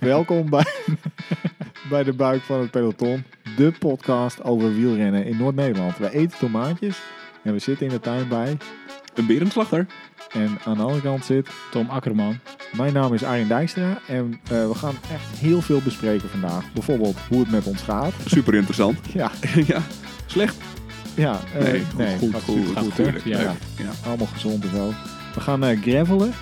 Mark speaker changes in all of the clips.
Speaker 1: Welkom bij, bij de buik van het peloton. De podcast over wielrennen in Noord-Nederland. Wij eten tomaatjes en we zitten in de tuin bij.
Speaker 2: Een berenslachter.
Speaker 1: En aan de andere kant zit...
Speaker 3: Tom Akkerman.
Speaker 1: Mijn naam is Arjen Dijkstra en eh, we gaan echt heel veel bespreken vandaag. Bijvoorbeeld hoe het met ons gaat.
Speaker 2: Super interessant.
Speaker 1: Ja,
Speaker 2: ja, slecht.
Speaker 1: ja eh,
Speaker 2: Nee, goed, goed,
Speaker 1: gaat
Speaker 2: goed,
Speaker 1: supergoed,
Speaker 2: goed,
Speaker 1: hè?
Speaker 2: goed,
Speaker 3: ja.
Speaker 1: Ja,
Speaker 2: Ja.
Speaker 1: allemaal gezond en zo. We gaan eh gravelen.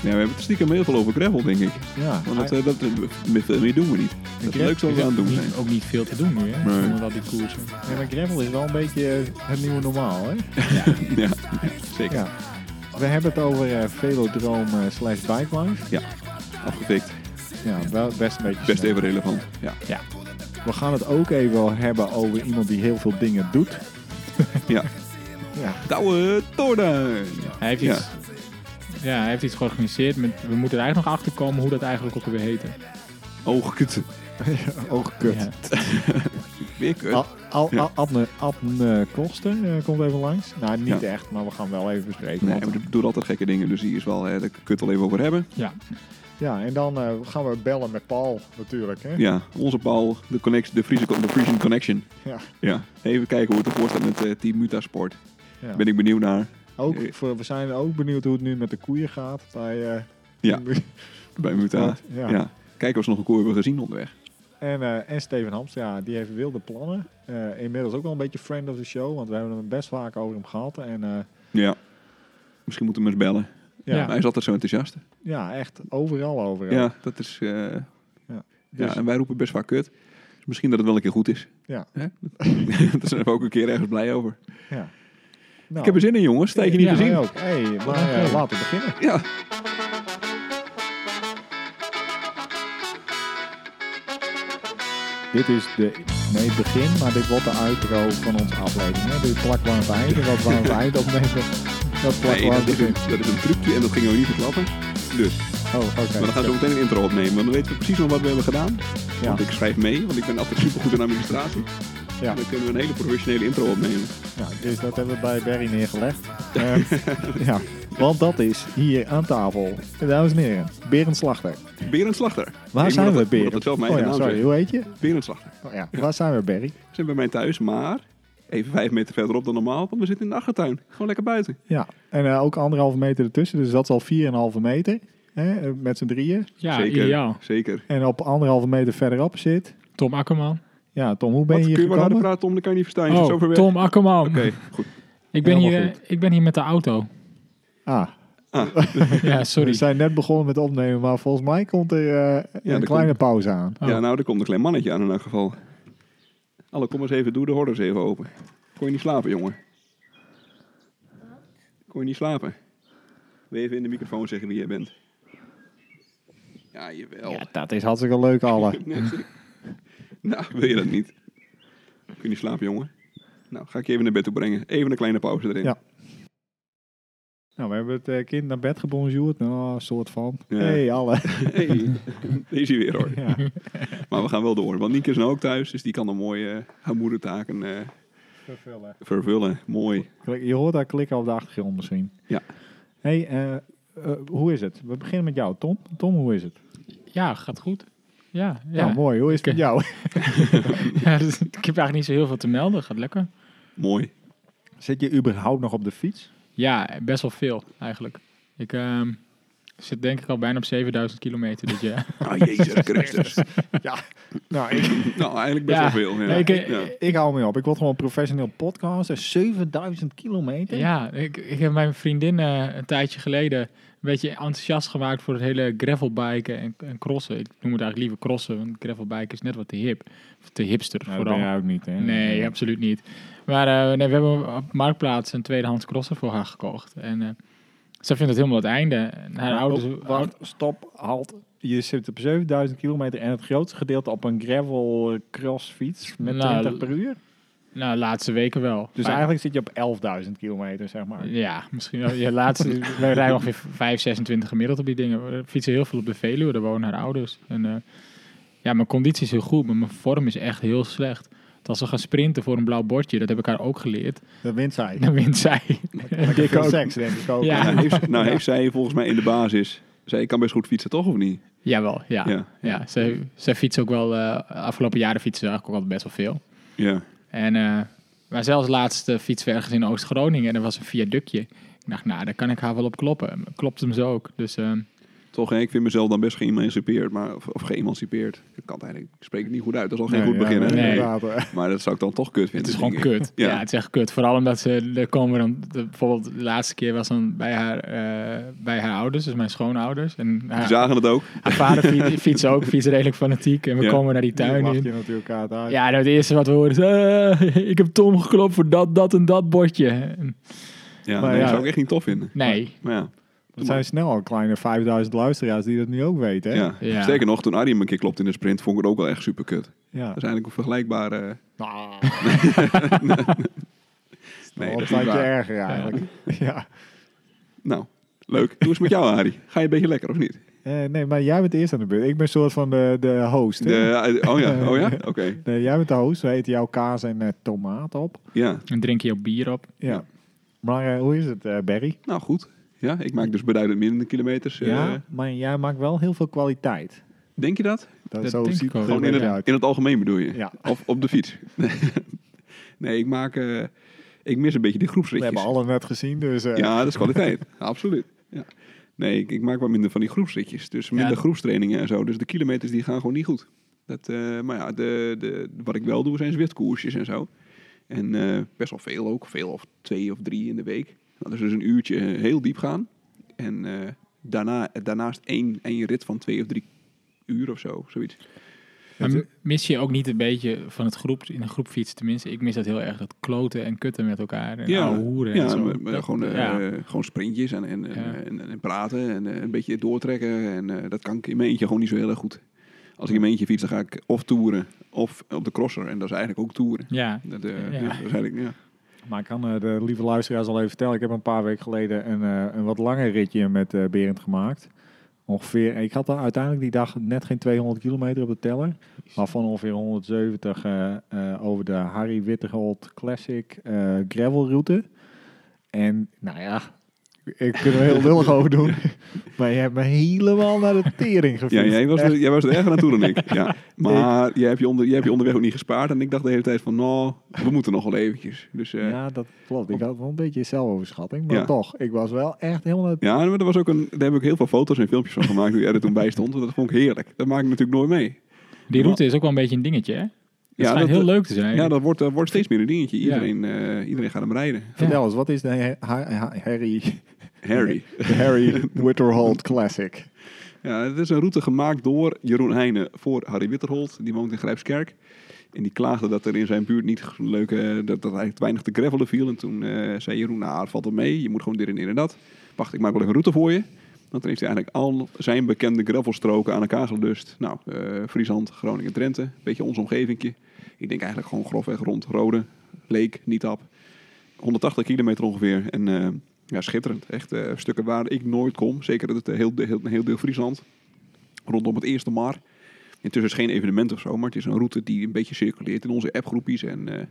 Speaker 2: Ja, we hebben het stiekem heel veel over gravel, denk ik.
Speaker 1: Ja,
Speaker 2: Want dat, eh, dat, eh, veel meer doen we niet. Dat is
Speaker 1: gra-
Speaker 2: leuk zoals we aan het doen zijn.
Speaker 3: Niet, ook niet veel te doen nu, hè?
Speaker 2: Nee.
Speaker 3: Zonder al die koersen.
Speaker 1: ja, maar gravel is wel een beetje eh, het nieuwe normaal, hè?
Speaker 2: Ja, zeker.
Speaker 1: Ja. We hebben het over eh, velodroom eh, slash bike life.
Speaker 2: Afgefikt.
Speaker 1: Ja, wel best een beetje.
Speaker 2: Best
Speaker 1: snel.
Speaker 2: even relevant. Ja.
Speaker 1: We gaan het ook even wel hebben over iemand die heel veel dingen doet.
Speaker 2: ja.
Speaker 1: Ja,
Speaker 2: Douwe Tordijn.
Speaker 3: Hij heeft
Speaker 2: Ja.
Speaker 3: iets... Ja, hij heeft iets georganiseerd. Met, we moeten er eigenlijk nog achter komen hoe dat eigenlijk ook alweer heette.
Speaker 2: Oogkut.
Speaker 1: ook kut.
Speaker 3: Ja.
Speaker 2: Weer kut.
Speaker 1: Al, al,
Speaker 2: Ja.
Speaker 1: al, Adne, Adne Koster eh, komt even langs. Nou, niet
Speaker 2: Ja.
Speaker 1: echt, maar we gaan wel even bespreken.
Speaker 2: Nee,
Speaker 1: want-
Speaker 2: maar die doet altijd gekke dingen, dus hier is wel, hè, daar kun je het al even over hebben.
Speaker 3: Ja.
Speaker 1: Ja, en dan eh, gaan we bellen met Paul natuurlijk. Hè?
Speaker 2: Ja, onze Paul, de, connect, de, Friese, de Friesen Connection.
Speaker 1: Ja.
Speaker 2: Ja, even kijken hoe het ervoor staat met eh, Team Mutasport.
Speaker 1: Ja.
Speaker 2: Ben ik benieuwd naar. eh,
Speaker 1: Ook, voor, we zijn ook benieuwd hoe het nu met de koeien gaat. Bij, eh,
Speaker 2: Ja. Bij Muta.
Speaker 1: Ah, Ja.
Speaker 2: Ja. Kijken of ze nog een koe hebben gezien onderweg.
Speaker 1: En, eh, en Steven Hamstra, die heeft wilde plannen. Eh, inmiddels ook wel een beetje friend of the show, want we hebben hem best vaak over hem gehad. En eh,
Speaker 2: Ja. Misschien moeten we hem eens bellen.
Speaker 1: ja,
Speaker 3: Ja.
Speaker 1: ja.
Speaker 2: Hij is altijd zo enthousiast.
Speaker 1: echt overal over.
Speaker 2: Ja,
Speaker 1: hem.
Speaker 2: dat is... eh, ja.
Speaker 1: Dus-
Speaker 2: en wij roepen best vaak kut. Dus misschien dat het wel een keer goed is.
Speaker 1: Ja.
Speaker 2: Hè? Daar zijn we ook een keer ergens blij over.
Speaker 1: Ja. Nou,
Speaker 2: Ik heb er zin in, jongens. Steek je niet
Speaker 3: Ja,
Speaker 2: gezien.
Speaker 1: wij ook. Hey, maar eh, laten we beginnen.
Speaker 2: Ja.
Speaker 1: Dit is de, nee, het begin, maar dit wordt de outro van onze aflevering. Hè? Dit plakken we aan het einde, wat we aan het eind opnemen. Dat plakken
Speaker 2: Nee,
Speaker 1: we aan
Speaker 2: dat
Speaker 1: het
Speaker 2: is, een,
Speaker 1: begin.
Speaker 2: dat is een trucje en dat gingen we niet verklappen. Dus,
Speaker 1: Oh, oké.
Speaker 2: maar dan gaan we zo meteen een intro opnemen. Want dan weten we precies nog wat we hebben gedaan.
Speaker 1: ja.
Speaker 2: Want ik schrijf mee, want ik ben altijd supergoed in administratie.
Speaker 1: Ja.
Speaker 2: En dan kunnen we een hele professionele intro opnemen.
Speaker 1: Ja, dus dat hebben we bij Barry neergelegd. Eh, ja, want dat is hier aan tafel, dames en heren, Berend Slachter.
Speaker 2: Berend Slachter.
Speaker 1: Waar
Speaker 2: Ik
Speaker 1: zijn
Speaker 2: moet
Speaker 1: we,
Speaker 2: dat- ik
Speaker 1: Berend?
Speaker 2: moet Dat zelf mijn
Speaker 1: oh
Speaker 2: eigen
Speaker 1: ja,
Speaker 2: naam
Speaker 1: sorry,
Speaker 2: zeggen.
Speaker 1: hoe heet je?
Speaker 2: Berend Slachter.
Speaker 1: Oh ja, waar zijn we, Barry?
Speaker 2: We zijn bij mij thuis, maar even vijf meter verderop dan normaal. Want we zitten in de achtertuin. Gewoon lekker buiten.
Speaker 1: Ja, en eh, ook anderhalve meter ertussen, dus dat is al 4,5 meter, hè, eh, met z'n drieën.
Speaker 3: Ja,
Speaker 2: Zeker.
Speaker 3: ideaal.
Speaker 2: Zeker.
Speaker 1: En op anderhalve meter verderop zit,
Speaker 3: Tom Akkerman.
Speaker 1: ja Tom, hoe ben
Speaker 2: wat,
Speaker 1: je
Speaker 2: kun
Speaker 1: hier
Speaker 2: je nou maar harder
Speaker 1: gekomen?
Speaker 2: praten, Tom? Dan kan je niet verstaan. Je zit zo ver
Speaker 3: Oh,
Speaker 2: weg.
Speaker 3: Tom Akkerman.
Speaker 2: Oké, goed.
Speaker 3: Ik, ben
Speaker 1: Helemaal
Speaker 3: hier, eh, ik ben hier met de auto.
Speaker 1: Ah,
Speaker 3: ja,
Speaker 1: we
Speaker 3: sorry.
Speaker 1: zijn net begonnen met opnemen, maar volgens mij komt er eh,
Speaker 2: Ja,
Speaker 1: een
Speaker 2: er
Speaker 1: kleine
Speaker 2: komt-
Speaker 1: pauze aan.
Speaker 3: Oh.
Speaker 2: Ja, nou, er komt een klein mannetje aan in elk geval. Alle, kom eens even, doe de hordes even open. Kon je niet slapen, jongen? Kon je niet slapen? Wil je even in de microfoon zeggen wie jij bent? Ja, jawel.
Speaker 1: Ja, dat is hartstikke leuk, alle.
Speaker 2: Nee, sorry. nou, wil je dat niet? Kun je niet slapen, jongen? Nou, ga ik je even naar bed toe brengen. Even een kleine pauze erin.
Speaker 1: Ja. Nou, we hebben het eh, kind naar bed gebonjourd. Nou, soort van.
Speaker 2: Ja.
Speaker 1: hey, alle.
Speaker 2: Hey, daar is hij weer hoor.
Speaker 1: Ja.
Speaker 2: Maar we gaan wel door, want Nienke is nou ook thuis, dus die kan dan mooi eh, haar moedertaken eh, vervullen. Mooi.
Speaker 1: Klik- Je hoort haar klikken op de achtergrond misschien.
Speaker 2: Ja.
Speaker 1: hey, eh, eh, hoe is het? We beginnen met jou, Tom. Tom, hoe is het?
Speaker 3: Ja, gaat goed. Ja,
Speaker 1: Ja,
Speaker 3: ja. eh,
Speaker 1: mooi. Hoe is het met jou?
Speaker 3: Ja, dus ik heb eigenlijk niet zo heel veel te melden. Gaat lekker.
Speaker 2: Mooi.
Speaker 1: Zit je überhaupt nog op de fiets?
Speaker 3: Ja, best wel veel eigenlijk. Ik ehm, zit denk ik al bijna op 7000 kilometer dit jaar.
Speaker 2: Ah, Jezus Christus.
Speaker 1: Nou, ik,
Speaker 2: Nou, eigenlijk best
Speaker 3: Ja.
Speaker 2: wel veel. Ja.
Speaker 3: Nee, ik, eh,
Speaker 2: ja.
Speaker 1: ik hou me op. Ik word gewoon professioneel podcaster. 7000 kilometer?
Speaker 3: Ja, ik, ik heb mijn vriendin eh, een tijdje geleden een beetje enthousiast gemaakt voor het hele gravelbiken en, en crossen. Ik noem het eigenlijk liever crossen, want gravelbiken is net wat te hip. Of te hipster
Speaker 1: Nou, dat
Speaker 3: vooral.
Speaker 1: ben jij ook niet, hè?
Speaker 3: Nee, absoluut niet. Maar eh, nee, we hebben op Marktplaats een tweedehands crosser voor haar gekocht. En eh, ze vindt het helemaal het einde. En haar
Speaker 1: Maar
Speaker 3: ouders...
Speaker 1: op- wacht, stop, halt. Je zit op 7000 kilometer en het grootste gedeelte op een gravel eh, crossfiets met
Speaker 3: Nou,
Speaker 1: 20 per uur.
Speaker 3: Nou, laatste weken wel.
Speaker 1: Dus
Speaker 3: Vijf-
Speaker 1: eigenlijk zit je op 11.000 kilometer, zeg maar.
Speaker 3: Ja, misschien wel. Je laatste, we rijden ongeveer 5, 26 gemiddeld op die dingen. We fietsen heel veel op de Veluwe, daar wonen haar ouders. En, eh, ja, mijn conditie is heel goed, maar mijn vorm is echt heel slecht. Want als we gaan sprinten voor een blauw bordje, dat heb ik haar ook geleerd,
Speaker 1: Dat wint zij.
Speaker 3: dan wint zij.
Speaker 1: Lekker veel seks, denk ik ook.
Speaker 3: Ja.
Speaker 2: Nou, heeft, nou heeft zij volgens mij in de basis... Zij kan best goed fietsen, toch? Of niet?
Speaker 3: Jawel, ja. ja.
Speaker 2: Ja.
Speaker 3: ze, ze fietsen ook wel, eh, afgelopen jaren fietsen ze eigenlijk ook al best wel veel.
Speaker 2: Ja.
Speaker 3: En, eh, maar zelfs laatst eh, fietsen we ergens in Oost-Groningen en er was een viaductje. Ik dacht, nou, daar kan ik haar wel op kloppen. Klopt hem zo ook. Dus ehm,
Speaker 2: Toch, hè, ik vind mezelf dan best geëmancipeerd, maar, of, of geëmancipeerd. Ik kan het eigenlijk, ik spreek het niet goed uit, dat is al geen goed begin. hè?
Speaker 3: nee.
Speaker 1: inderdaad, hè.
Speaker 2: Maar dat zou ik dan toch kut vinden.
Speaker 3: het is gewoon
Speaker 2: denk ik.
Speaker 3: kut. Ja.
Speaker 2: Ja.
Speaker 3: het is echt kut. Vooral omdat ze, er komen dan, de- bijvoorbeeld de laatste keer was dan bij haar, eh, bij haar ouders, dus mijn schoonouders. En
Speaker 2: Die
Speaker 3: haar,
Speaker 2: zagen het ook.
Speaker 3: haar vader fiets, fietst ook, fietst redelijk fanatiek. En we
Speaker 2: Ja.
Speaker 3: komen naar die
Speaker 1: Dan
Speaker 3: tuin
Speaker 1: lach
Speaker 3: in.
Speaker 1: je natuurlijk elkaar uit.
Speaker 3: Ja, nou, het eerste wat we horen is... "Eh, ik heb Tom geklopt voor dat, dat en dat bordje.
Speaker 2: Ja,
Speaker 1: Maar
Speaker 2: nee,
Speaker 1: ja.
Speaker 2: zou ik echt niet tof vinden.
Speaker 3: Nee.
Speaker 2: Maar ja,
Speaker 1: Er zijn snel al kleine 5000 luisteraars die dat nu ook weten. Hè?
Speaker 2: ja.
Speaker 3: Ja.
Speaker 2: Sterker nog, toen Arie me een keer klopt in de sprint, vond ik het ook wel echt super kut. Dat
Speaker 1: ja.
Speaker 2: is eigenlijk een vergelijkbare... eh,
Speaker 3: Ah.
Speaker 1: Nou,
Speaker 2: Nee,
Speaker 1: al een
Speaker 2: dat is niet
Speaker 1: tandje
Speaker 2: waar.
Speaker 1: erger eigenlijk. Ja.
Speaker 2: Nou, leuk. Doe eens met jou, Arie. Ga je een beetje lekker, of niet?
Speaker 1: Eh, nee, maar jij bent eerst aan de beurt. Ik ben soort van de, de host. hè?
Speaker 2: De- oh ja, oh ja? Oké.
Speaker 1: Nee, jij bent de host. We eten jouw kaas en eh, tomaat op.
Speaker 2: Ja,
Speaker 3: En drink je ook bier op.
Speaker 1: Ja. Maar eh, hoe is het, eh, Barry?
Speaker 2: nou goed. Ja, ik maak dus beduidend minder kilometers. eh,
Speaker 1: ja, maar jij maakt wel heel veel kwaliteit.
Speaker 2: Denk je dat?
Speaker 1: Dat,
Speaker 3: Dat
Speaker 1: zo
Speaker 3: denk
Speaker 1: ziet
Speaker 3: ik ook.
Speaker 1: het er
Speaker 2: Gewoon
Speaker 1: een
Speaker 2: in
Speaker 1: beetje
Speaker 2: het,
Speaker 1: uit.
Speaker 2: in het algemeen bedoel je?
Speaker 1: Ja.
Speaker 2: Of op de fiets? nee, ik maak... eh, ik mis een beetje die
Speaker 1: We
Speaker 2: groepsritjes.
Speaker 1: hebben alle net gezien, dus eh,
Speaker 2: Ja, dat is kwaliteit. Absoluut. Ja. Nee, ik, ik maak wat minder van die groepsritjes. Dus minder
Speaker 3: Ja.
Speaker 2: groepstrainingen en zo. Dus de kilometers die gaan gewoon niet goed. Dat, eh, maar ja, de, de, wat ik wel doe zijn zwitkoersjes en zo. En eh, best wel veel ook. Veel of twee of drie in de week. Dat is dus een uurtje eh, heel diep gaan. En eh, daarna, daarnaast één, één rit van twee of drie uur of zo. Zoiets.
Speaker 3: Maar mis je ook niet een beetje van het groep, in een groep fietsen tenminste. Ik mis dat heel erg, dat kloten en kutten met elkaar. En ouwe hoeren en
Speaker 2: ja,
Speaker 3: zo.
Speaker 2: maar- maar
Speaker 3: Dat-
Speaker 2: gewoon, eh,
Speaker 3: ja.
Speaker 2: gewoon sprintjes en, en, en-
Speaker 3: Ja.
Speaker 2: en, en praten en eh, een beetje doortrekken. En eh, dat kan ik in mijn eentje gewoon niet zo heel erg goed. Als ik in mijn eentje fiets, dan ga ik of toeren of op de crosser. En dat is eigenlijk ook toeren.
Speaker 3: ja.
Speaker 2: Dat, eh,
Speaker 3: Ja.
Speaker 2: ja, dat is eigenlijk, ja.
Speaker 1: Maar ik kan eh, de lieve luisteraars al even vertellen. Ik heb een paar weken geleden een, eh, een wat langer ritje met eh, Berend gemaakt. Ongeveer, ik had dan uiteindelijk die dag net geen 200 kilometer op de teller. Waarvan ongeveer 170 eh, eh, over de Harry Wittegold Classic eh gravelroute. En nou ja, ik kan er heel lullig over doen. Maar je hebt me helemaal naar de tering gefietst.
Speaker 2: ja jij, was
Speaker 1: Echt,
Speaker 2: er, jij was er erger aan toe dan ik. Ja. Maar jij hebt, je onder, jij hebt je onderweg ook niet gespaard. En ik dacht de hele tijd van, nou, we moeten nog wel eventjes. Dus eh, ja.
Speaker 1: ja, dat klopt. Ik had wel een beetje zelfoverschatting. Maar
Speaker 2: Ja.
Speaker 1: toch, ik was wel echt helemaal naar de
Speaker 2: maar er was ook een, daar heb ik heel veel foto's en filmpjes van gemaakt. Hoe jij er toen bij stond. Dat vond ik heerlijk. Dat maak ik natuurlijk nooit mee.
Speaker 3: Die route is ook wel een beetje een dingetje, hè? Het
Speaker 2: Ja,
Speaker 3: schijnt
Speaker 2: dat-
Speaker 3: heel leuk te zijn.
Speaker 2: Ja, dat wordt, eh, wordt steeds meer een dingetje.
Speaker 3: Ja.
Speaker 2: Iedereen, eh, iedereen gaat hem rijden.
Speaker 1: Vertel eens, wat is de Har- Har- Har- Harry,
Speaker 2: Harry.
Speaker 1: de Harry Witterhold Classic?
Speaker 2: Ja, het is een route gemaakt door Jeroen Heijnen voor Harry Witterhold. Die woont in Grijpskerk. En die klaagde dat er in zijn buurt niet g- leuke, dat, dat er eigenlijk weinig te gravelen viel. En toen eh, zei Jeroen, nou, het valt wel mee. Je moet gewoon dit en dit en dat. Wacht, ik maak wel even een route voor je. Want dan heeft hij eigenlijk al zijn bekende gravelstroken aan elkaar gelust. Nou, eh, Friesland, Groningen, Drenthe. Een beetje ons omgevingje. Ik denk eigenlijk gewoon grofweg rond Rode, Leek, Nietap. 180 kilometer ongeveer. En eh, ja, schitterend. Echt eh, stukken waar ik nooit kom. Zeker het eh, heel, heel, een heel deel Friesland. Rondom het eerste maar. Intussen is het geen evenement of zo, maar het is een route die een beetje circuleert in onze appgroepjes. En eh,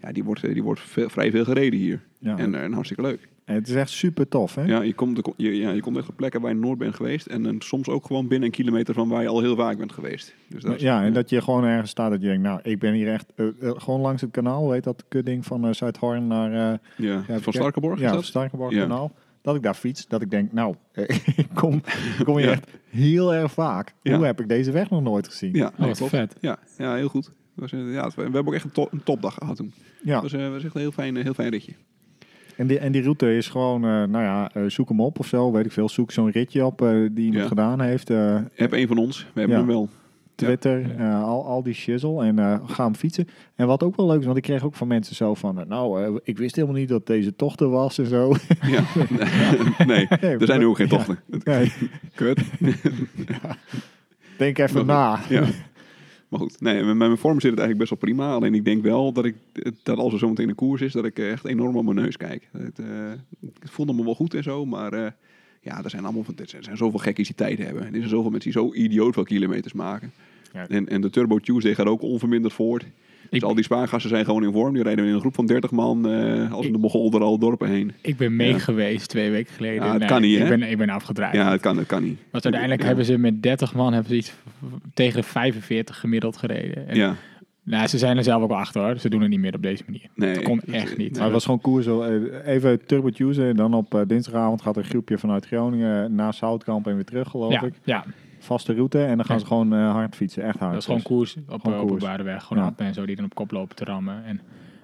Speaker 2: ja, die wordt, eh, die wordt veel- vrij veel gereden hier.
Speaker 1: Ja.
Speaker 2: En, eh, en hartstikke leuk.
Speaker 1: En het is echt super tof, hè?
Speaker 2: Ja, je komt, je, ja, je komt echt op plekken waar je nooit bent geweest. En, eh, soms ook gewoon binnen een kilometer van waar je al heel vaak bent geweest. Dus dat is-
Speaker 1: Ja, en dat je gewoon ergens staat dat je denkt, nou, ik ben hier echt, eh, eh, gewoon langs het kanaal, hoe heet dat kutding van eh, Zuidhorn naar... eh,
Speaker 2: ja.
Speaker 1: ja, Ke-
Speaker 2: van Starkenborg
Speaker 1: Ja,
Speaker 2: is
Speaker 1: van
Speaker 2: dat?
Speaker 1: Starkenborg
Speaker 2: Ja.
Speaker 1: kanaal. Dat ik daar fiets, dat ik denk, nou, eh, ik kom, kom hier
Speaker 2: Ja.
Speaker 1: echt heel erg vaak.
Speaker 2: Ja.
Speaker 1: Hoe heb ik deze weg nog nooit gezien?
Speaker 2: Ja,
Speaker 3: Oh,
Speaker 2: ja,
Speaker 3: wat
Speaker 2: klopt.
Speaker 3: vet.
Speaker 2: Ja, ja, heel goed. Dat Was, eh, ja, het- we hebben ook echt een, to- een topdag gehad toen.
Speaker 1: Ja.
Speaker 2: Dat was, eh, was echt een heel fijn, eh, heel fijn ritje.
Speaker 1: En, die, en die route is gewoon, eh, nou ja, eh, zoek hem op of zo, weet ik veel. Zoek zo'n ritje op eh, die iemand
Speaker 2: Ja.
Speaker 1: gedaan heeft. eh,
Speaker 2: Heb een van ons. We hebben
Speaker 1: Ja.
Speaker 2: hem wel.
Speaker 1: Twitter, eh, al, al die shizzle en eh, ga hem fietsen. En wat ook wel leuk is, want ik kreeg ook van mensen zo van, eh, nou, eh, ik wist helemaal niet dat deze tocht er was en zo.
Speaker 2: Ja. nee, er zijn nu ook geen
Speaker 1: Ja.
Speaker 2: tochten.
Speaker 1: nee,
Speaker 2: Kut.
Speaker 1: denk even
Speaker 2: Maar
Speaker 1: na.
Speaker 2: Ja. Maar goed, nee, met mijn vorm zit het eigenlijk best wel prima. Alleen ik denk wel dat ik dat als er zometeen een koers is, dat ik eh, echt enorm op mijn neus kijk. Het, eh, het voelde me wel goed en zo, maar eh, ja, er zijn allemaal van, er zijn zoveel gekkies die tijd hebben. En er zijn zoveel mensen die zo idioot veel kilometers maken.
Speaker 1: Ja.
Speaker 2: En, en de Turbo Tuesday gaat ook onverminderd voort. Dus al die spaargassen zijn gewoon in vorm. Die rijden in een groep van 30 man eh, als in de Mogol er al dorpen heen.
Speaker 3: Ik ben mee geweest twee weken geleden. eh,
Speaker 2: Ja, het kan niet, hè?
Speaker 3: Ik ben, ik ben afgedraaid.
Speaker 2: Ja, het kan, het kan niet.
Speaker 3: Want uiteindelijk
Speaker 2: Ja.
Speaker 3: hebben ze met 30 man hebben ze iets tegen de 45 gemiddeld gereden. En,
Speaker 2: Ja,
Speaker 3: Nou, ze zijn er zelf ook wel achter hoor. Ze doen het niet meer op deze manier.
Speaker 2: nee.
Speaker 3: Dat kon echt niet.
Speaker 1: Maar het was gewoon koers. hoor. Eh, Even turbo en Dan op eh, dinsdagavond gaat een groepje vanuit Groningen eh, naar Zoutkamp en weer terug, geloof
Speaker 3: ja,
Speaker 1: ik.
Speaker 3: ja,
Speaker 1: Vaste route. En dan gaan
Speaker 3: Ja.
Speaker 1: ze gewoon eh, hard fietsen. Echt hard.
Speaker 3: dat is gewoon koers
Speaker 1: Gewoon
Speaker 3: op eh,
Speaker 1: koers.
Speaker 3: openbare weg. Gewoon
Speaker 1: Ja.
Speaker 3: appen en zo die dan op kop lopen te rammen. En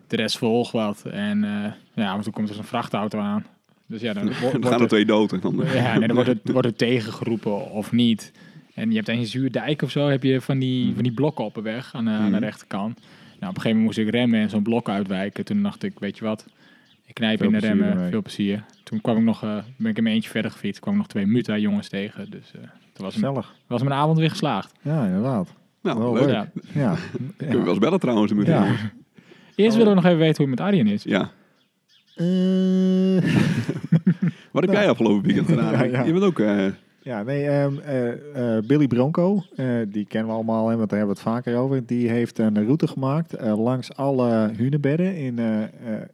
Speaker 3: de rest volgt wat. En eh, ja, want toen komt er zo'n vrachtauto aan. Dus ja, dan wordt
Speaker 2: Dan
Speaker 3: wordt
Speaker 2: gaan er
Speaker 3: er,
Speaker 2: twee dood. en Dan, eh,
Speaker 3: ja, en dan wordt, het, wordt het tegengeroepen of niet. En je hebt in Zuurdijk of zo heb je van die, van die blokken op de weg aan, de- aan de
Speaker 2: Mhm.
Speaker 3: rechterkant. Nou, op een gegeven moment moest ik remmen en zo'n blok uitwijken. Toen dacht ik, weet je wat, ik knijp
Speaker 1: Veel
Speaker 3: in de
Speaker 1: plezier
Speaker 3: remmen,
Speaker 1: ermee.
Speaker 3: veel plezier. Toen kwam ik nog, eh, ben ik in mijn eentje verder gefietst, kwam ik nog twee muta jongens tegen. Dus eh toen was, mijn-
Speaker 1: gezellig.
Speaker 3: was mijn avond weer geslaagd.
Speaker 1: Ja, inderdaad.
Speaker 2: nou,
Speaker 1: Wel
Speaker 2: leuk.
Speaker 1: leuk.
Speaker 3: Oh, Ja.
Speaker 1: Ja.
Speaker 2: Kunnen we wel eens bellen trouwens. de
Speaker 1: Ja.
Speaker 2: muur.
Speaker 3: Eerst willen we nog even weten hoe het met Arjen is.
Speaker 2: ja.
Speaker 1: Eh,
Speaker 2: Wat heb jij afgelopen weekend gedaan?
Speaker 1: Ja, ja.
Speaker 2: Je bent ook... eh,
Speaker 1: Ja, nee, ehm, eh, eh, Billy Bronco, eh, die kennen we allemaal, hè, want daar hebben we het vaker over. Die heeft een route gemaakt eh, langs alle hunebedden in, eh, eh,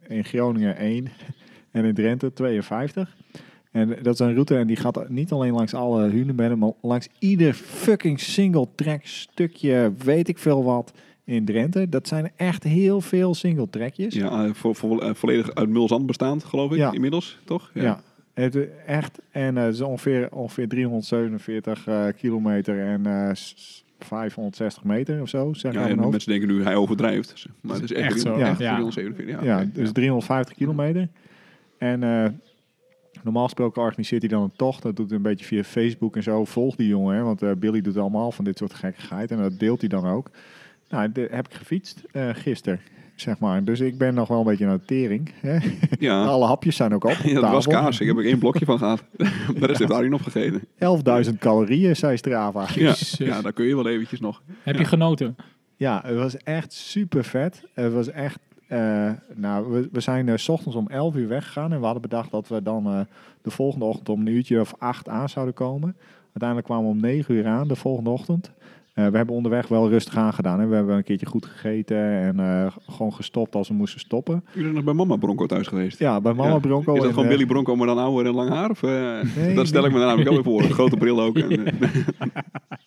Speaker 1: in Groningen 1 en in Drenthe 52. En dat is een route en die gaat niet alleen langs alle hunebedden, maar langs ieder fucking single track stukje, weet ik veel wat, in Drenthe. Dat zijn echt heel veel single trackjes.
Speaker 2: Ja, eh, vo- vo- eh, volledig uit mulzand bestaand, geloof ik,
Speaker 1: Ja.
Speaker 2: inmiddels, toch?
Speaker 1: Ja. Het, is echt, en eh, het is ongeveer, ongeveer 347 eh, kilometer en eh, s- s- 560 meter of zo, zeg ik
Speaker 2: Ja, en
Speaker 1: uit mijn
Speaker 2: de
Speaker 1: hoofd.
Speaker 2: mensen denken nu, hij overdrijft. Maar het is echt,
Speaker 3: Echt zo,
Speaker 2: Ja,
Speaker 1: echt,
Speaker 3: ja.
Speaker 2: 347, ja.
Speaker 1: ja,
Speaker 2: oké.
Speaker 1: dus 350 kilometer. En eh, normaal gesproken organiseert hij dan een tocht. Dat doet hij een beetje via Facebook en zo. Volg die jongen, hè, want eh, Billy doet allemaal van dit soort gekkigheid. En dat deelt hij dan ook. Nou, dat heb ik gefietst eh gisteren, zeg maar. Dus ik ben nog wel een beetje naar de tering. Hè?
Speaker 2: Ja.
Speaker 1: Alle hapjes zijn ook op. op
Speaker 2: Ja, dat was
Speaker 1: tafel.
Speaker 2: kaas. Ik heb er één blokje van gehad. De rest heeft Arjen opgegeten.
Speaker 1: 11.000 calorieën, zei Strava. Dus
Speaker 2: Ja,
Speaker 3: Jezus.
Speaker 2: ja, daar kun je wel eventjes nog.
Speaker 3: Eh, Heb je genoten?
Speaker 1: Ja, het was echt super vet. Het was echt. eh, nou, we, we zijn eh, s ochtends om 11 uur weggegaan en we hadden bedacht dat we dan eh, de volgende ochtend om een uurtje of acht aan zouden komen. Uiteindelijk kwamen we om 9 uur aan de volgende ochtend. Eh, we hebben onderweg wel rustig aangedaan. Hè. We hebben een keertje goed gegeten en eh, gewoon gestopt als we moesten stoppen.
Speaker 2: Jullie zijn nog bij mama Bronco thuis geweest.
Speaker 1: Ja, bij Mama
Speaker 2: Ja.
Speaker 1: Bronco.
Speaker 2: Is dat
Speaker 1: en,
Speaker 2: gewoon
Speaker 1: eh,
Speaker 2: Billy Bronco, maar dan ouder en lang haar? Of, eh,
Speaker 1: Nee,
Speaker 2: dat stel
Speaker 1: nee.
Speaker 2: ik me namelijk ook weer voor. Een grote bril ook. En, eh,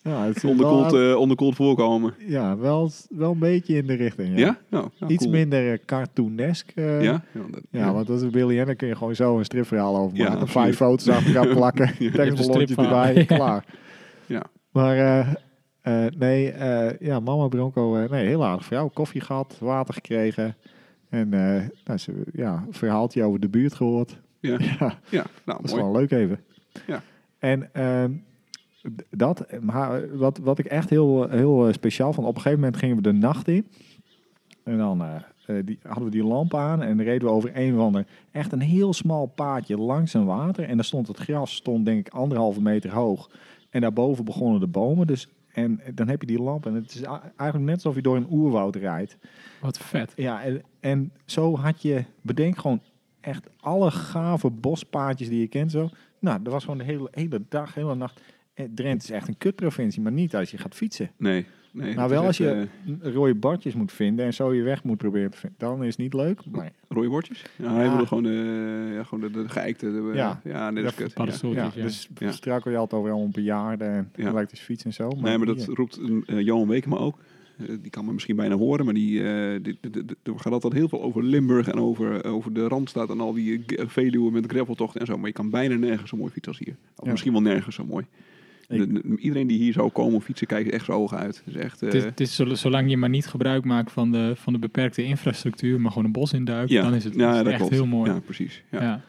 Speaker 1: ja, het is
Speaker 2: onderkoeld,
Speaker 1: wel,
Speaker 2: eh, onderkoeld voorkomen.
Speaker 1: ja wel, wel een beetje in de richting.
Speaker 2: Ja?
Speaker 1: Ja?
Speaker 2: Nou, ja,
Speaker 1: Iets
Speaker 2: cool.
Speaker 1: minder eh, cartoonesk. eh,
Speaker 2: Ja? Ja, dat-
Speaker 1: Ja, want dat is Billy en daar kun je gewoon zo een stripverhaal over
Speaker 2: Ja,
Speaker 1: maken.
Speaker 2: absoluut.
Speaker 1: Vijf foto's achter elkaar plakken, tekstballonnetje
Speaker 3: stripverhaal.
Speaker 1: erbij,
Speaker 3: Ja.
Speaker 1: klaar.
Speaker 2: Ja.
Speaker 1: Maar eh, eh, nee, eh, ja, mama Bronco, eh, nee, heel aardig vrouw. Koffie gehad, water gekregen. En eh nou, ze, ja, een verhaaltje over de buurt gehoord.
Speaker 2: ja.
Speaker 1: Ja,
Speaker 2: ja. nou
Speaker 1: dat is
Speaker 2: mooi.
Speaker 1: wel leuk even.
Speaker 2: Ja.
Speaker 1: En ehm, d- dat, maar eh, wat, wat ik echt heel, heel eh, speciaal vond, op een gegeven moment gingen we de nacht in. En dan eh, eh, die, hadden we die lamp aan en reden we over een of ander. Echt een heel smal paadje langs een water. En daar stond het gras, stond denk ik anderhalve meter hoog. En daarboven begonnen de bomen. Dus, en dan heb je die lamp en het is a- eigenlijk net alsof je door een oerwoud rijdt.
Speaker 3: Wat vet.
Speaker 1: Ja, en, en zo had je, bedenk gewoon echt alle gave bospaadjes die je kent zo. Nou, dat was gewoon de hele, hele dag, hele nacht. Eh, Drenthe is echt een kutprovincie, maar niet als je gaat fietsen.
Speaker 2: Nee. nee
Speaker 1: Nou,
Speaker 2: dat
Speaker 1: wel
Speaker 2: is
Speaker 1: als
Speaker 2: echt,
Speaker 1: je
Speaker 2: eh,
Speaker 1: rode bartjes moet vinden en zo je weg moet proberen te vinden. Dan is het niet leuk, maar
Speaker 2: rode bordjes? Ja, hij
Speaker 1: Ja.
Speaker 2: wilde gewoon, eh, ja, gewoon de, de geëikte. de- eh,
Speaker 1: Ja.
Speaker 2: ja, nee, dat is
Speaker 1: Ja,
Speaker 2: kut. Ja.
Speaker 3: Paddenstoeltjes,
Speaker 1: ja,
Speaker 3: ja.
Speaker 1: dus
Speaker 2: Ja.
Speaker 1: struikel je altijd over allemaal bejaarden en
Speaker 2: Ja.
Speaker 1: elektrische fiets en zo. Maar
Speaker 2: Nee, maar dat
Speaker 1: hier-
Speaker 2: roept eh, Johan Wekema ook. Eh, die kan me misschien bijna horen, maar die, eh die, die- die- er gaat altijd heel veel over Limburg en over, eh, over de Randstad en al die eh, g- Veluwe met graveltochten en zo. Maar je kan bijna nergens zo mooi fietsen als hier. Of
Speaker 1: Ja.
Speaker 2: misschien wel nergens zo mooi.
Speaker 1: Ik-
Speaker 2: De- de- iedereen die hier zou komen om fietsen, kijkt echt zijn ogen uit. Het is echt... eh,
Speaker 3: Het is, het is zo- zolang je maar niet gebruik maakt van de, van de beperkte infrastructuur, maar gewoon een bos induikt, dan is het, is het echt heel mooi.
Speaker 2: Ja, precies. Ja.
Speaker 3: Ja.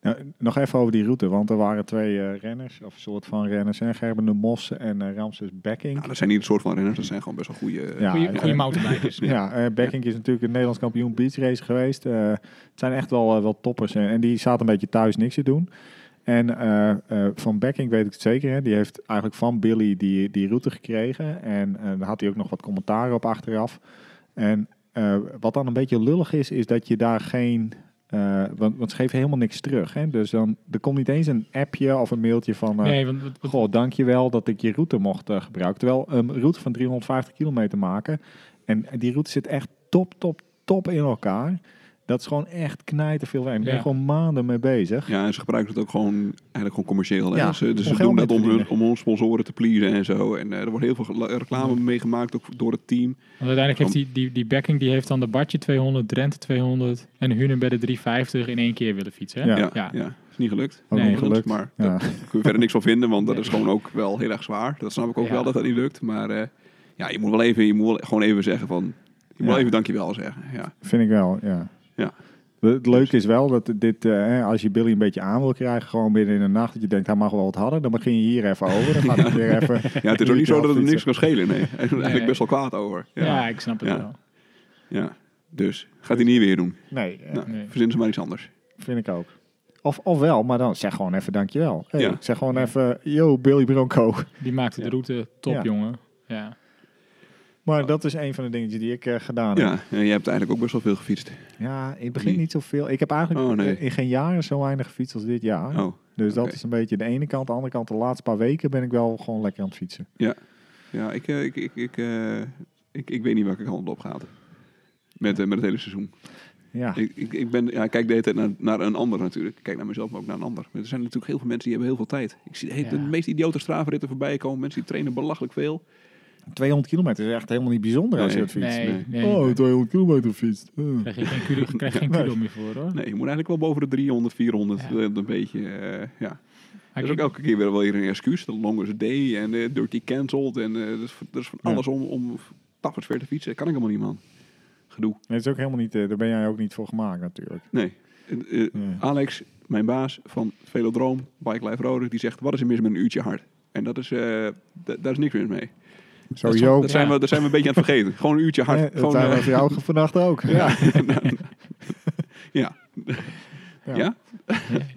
Speaker 1: Nou, nog even over die route, want er waren twee eh, renners, of een soort van renners, hè, Gerben de Mos en eh, Ramses Becking.
Speaker 2: Nou, dat zijn niet een soort van renners, dat zijn gewoon best wel eh, goede...
Speaker 1: Ja,
Speaker 3: Goeie,
Speaker 1: ja.
Speaker 3: goeie dus. mountainbikers.
Speaker 1: Ja, eh Bekkink is natuurlijk een Nederlands kampioen beachrace geweest. Eh, het zijn echt wel, eh, wel toppers. En, en die zaten een beetje thuis niks te doen. En eh, eh, van Bekkink weet ik het zeker. Hè, die heeft eigenlijk van Billy die, die route gekregen. En eh, daar had hij ook nog wat commentaren op achteraf. En eh, wat dan een beetje lullig is, is dat je daar geen... eh, want, want ze geven helemaal niks terug. Hè? Dus dan er komt niet eens een appje of een mailtje van... eh,
Speaker 3: Nee, want, want-
Speaker 1: Goh, dankjewel dat ik ehm, je route mocht eh, gebruiken. Terwijl een route van 350 kilometer maken. En die route zit echt top, top, top in elkaar. Dat is gewoon echt knijten veel werk. Ik ben
Speaker 3: Ja.
Speaker 1: gewoon maanden mee bezig.
Speaker 2: Ja, en ze gebruiken het ook gewoon eigenlijk gewoon commercieel. hè.
Speaker 1: Ja,
Speaker 2: ze, dus
Speaker 1: om
Speaker 2: ze
Speaker 1: geld
Speaker 2: doen
Speaker 1: mee
Speaker 2: dat
Speaker 1: te
Speaker 2: om hun,
Speaker 1: verdienen.
Speaker 2: om hun sponsoren te pleasen en zo. En eh, er wordt heel veel gela- reclame mee gemaakt, ook door het team.
Speaker 3: Want uiteindelijk heeft die, die, die backing die heeft dan de Bartje 200, Drenthe 200 en Hunebedden 350 in één keer willen fietsen. hè?
Speaker 1: Ja.
Speaker 2: Ja, ja.
Speaker 3: Ja.
Speaker 2: is niet gelukt.
Speaker 1: Ook
Speaker 3: Nee,
Speaker 1: niet gelukt.
Speaker 2: Maar
Speaker 1: Ja.
Speaker 2: daar kun je verder niks van vinden, want dat
Speaker 3: Nee.
Speaker 2: is gewoon ook wel heel erg zwaar. Dat snap ik ook
Speaker 3: Ja.
Speaker 2: wel dat dat niet lukt. Maar eh, ja, je moet wel even, je moet wel gewoon even zeggen van, je moet
Speaker 1: Ja.
Speaker 2: wel even dankjewel zeggen. Ja,
Speaker 1: Vind ik wel, ja.
Speaker 2: Ja.
Speaker 1: Het het leuke is wel dat dit, eh, hè, als je Billy een beetje aan wil krijgen, gewoon binnen in de nacht, dat je denkt, hij mag wel wat harder, dan begin je hier even over. Dan gaat hij weer even.
Speaker 2: ja het is ook niet zo dat het niks
Speaker 1: Fietsen.
Speaker 2: kan schelen. Nee, hij is er eigenlijk
Speaker 3: Nee.
Speaker 2: best wel kwaad over. Ja, ja.
Speaker 3: ik snap het
Speaker 2: Ja.
Speaker 3: wel.
Speaker 2: Dus, gaat hij niet weer doen.
Speaker 1: Nee, eh,
Speaker 2: Nou,
Speaker 3: Nee.
Speaker 2: Verzinnen ze maar iets anders.
Speaker 1: vind ik ook. Of, of wel, maar dan zeg gewoon even dankjewel. Hey,
Speaker 2: Ja.
Speaker 1: Zeg gewoon even, yo Billy Bronco.
Speaker 3: Die maakte de
Speaker 2: Ja.
Speaker 3: route top,
Speaker 1: Ja.
Speaker 3: jongen. Ja.
Speaker 1: Maar dat is een van de dingetjes die ik eh, gedaan heb.
Speaker 2: Oh. Ja, en jij hebt eigenlijk ook best wel veel gefietst.
Speaker 1: Ja, in het
Speaker 2: Nee.
Speaker 1: begin niet zoveel. Ik heb eigenlijk
Speaker 2: Oh, nee.
Speaker 1: in geen jaren zo weinig gefietst als dit jaar.
Speaker 2: Oh,
Speaker 1: dus dat
Speaker 2: oké.
Speaker 1: is een beetje de ene kant. De andere kant, de laatste paar weken ben ik wel gewoon lekker aan het fietsen.
Speaker 2: ja, ik, eh, ik, ik, ik, eh, ik, ik weet niet welke kant het op gaat. Met, eh, met het hele seizoen.
Speaker 1: Ja,
Speaker 2: Ik, ik, ik ben, ja, ik kijk de hele tijd naar, naar een ander natuurlijk. Ik kijk naar mezelf, maar ook naar een ander. Maar er zijn natuurlijk heel veel mensen die hebben heel veel tijd. Ik zie de, hele- de
Speaker 3: Ja.
Speaker 2: meest idiote stravenritten voorbij komen. Mensen die trainen belachelijk veel.
Speaker 1: 200 kilometer is echt helemaal niet bijzonder als je
Speaker 2: Nee.
Speaker 1: dat fietst.
Speaker 3: nee,
Speaker 2: nee.
Speaker 3: nee.
Speaker 1: Oh, 200 kilometer fietst.
Speaker 3: Krijg je geen kudo, krijg je geen
Speaker 1: Nee.
Speaker 3: kudo meer voor, hoor.
Speaker 2: Nee, je moet eigenlijk wel boven de 300, 400
Speaker 3: Ja.
Speaker 2: eh, een beetje... eh, ja.
Speaker 3: Maar
Speaker 2: Dat is
Speaker 3: ik-
Speaker 2: ook elke keer weer wel weer een excuus. De longest day en eh, dirty cancelled. En eh, er is, van- er is van
Speaker 1: Ja.
Speaker 2: alles om, om tappers ver te fietsen. Dat kan ik helemaal niet, man. Gedoe.
Speaker 1: Nee, dat is ook helemaal niet, eh, daar ben jij ook niet voor gemaakt natuurlijk.
Speaker 2: Nee. Eh, eh,
Speaker 1: Nee.
Speaker 2: Alex, mijn baas van Velodroom, Bike Life Rode, die zegt: Wat is er mis met een uurtje hard? En dat is, eh, da- daar is niks mis mee.
Speaker 1: Sowieso.
Speaker 2: Dat zijn,
Speaker 3: Ja.
Speaker 2: we, dat zijn we een beetje aan het vergeten. Gewoon een uurtje hard.
Speaker 1: Nee, dat
Speaker 2: Gewoon,
Speaker 1: zijn
Speaker 2: eh,
Speaker 1: we voor jou vannacht ook.
Speaker 2: ja. ja.
Speaker 1: Ja.
Speaker 2: Ja.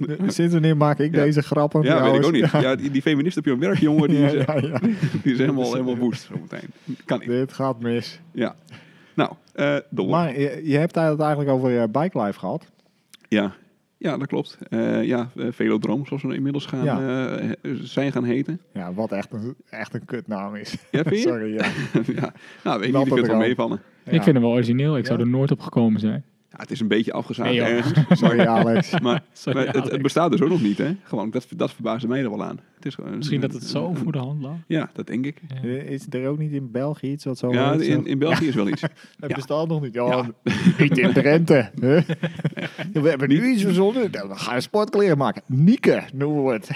Speaker 2: Ja?
Speaker 1: Sinds wanneer maak ik
Speaker 2: Ja.
Speaker 1: deze grappen?
Speaker 2: weet ik ook
Speaker 1: trouwens?
Speaker 2: niet. Ja, die, die feminist op je werk, jongen, die is, eh,
Speaker 1: Ja, ja, ja.
Speaker 2: die is helemaal, helemaal woest zometeen. Kan niet.
Speaker 1: Dit gaat mis.
Speaker 2: Ja. Nou, eh door.
Speaker 1: Maar je, je hebt het eigenlijk over eh, bike life gehad.
Speaker 2: Ja. ja, dat klopt. Eh, ja, eh, Velodroom, zoals we inmiddels gaan, eh, zijn gaan heten.
Speaker 1: Ja, wat echt een, echt een kutnaam is.
Speaker 2: Ja, vind je?
Speaker 1: Sorry, ja.
Speaker 2: ja. Nou, weet ik
Speaker 1: Laat
Speaker 2: niet, ik vind
Speaker 1: het
Speaker 2: het wel
Speaker 1: al.
Speaker 2: meevallen.
Speaker 1: Ja.
Speaker 3: Ik vind hem wel origineel. Ik zou er nooit op gekomen zijn.
Speaker 2: Ja, het is een beetje afgezaagd
Speaker 3: Nee, joh.
Speaker 2: ergens.
Speaker 1: Sorry, Alex.
Speaker 2: Maar,
Speaker 3: Sorry,
Speaker 2: maar het, het
Speaker 3: Alex.
Speaker 2: bestaat dus ook nog niet, hè? Gewoon, dat, dat verbaasde mij er wel aan. Het is gewoon een-
Speaker 3: Misschien dat het zo
Speaker 2: een-
Speaker 3: voor de hand lag.
Speaker 2: Ja, dat denk ik.
Speaker 3: Ja.
Speaker 1: Eh, Is er ook niet in België iets wat zo
Speaker 2: Ja,
Speaker 1: heet?
Speaker 2: in, in België is wel iets.
Speaker 1: Het
Speaker 2: ja.
Speaker 1: bestaat nog niet. Ja,
Speaker 2: Ja.
Speaker 1: Niet in Drenthe. hè? We hebben nu iets verzonnen. Nou, We gaan sportkleren maken. Nieke noemen we het.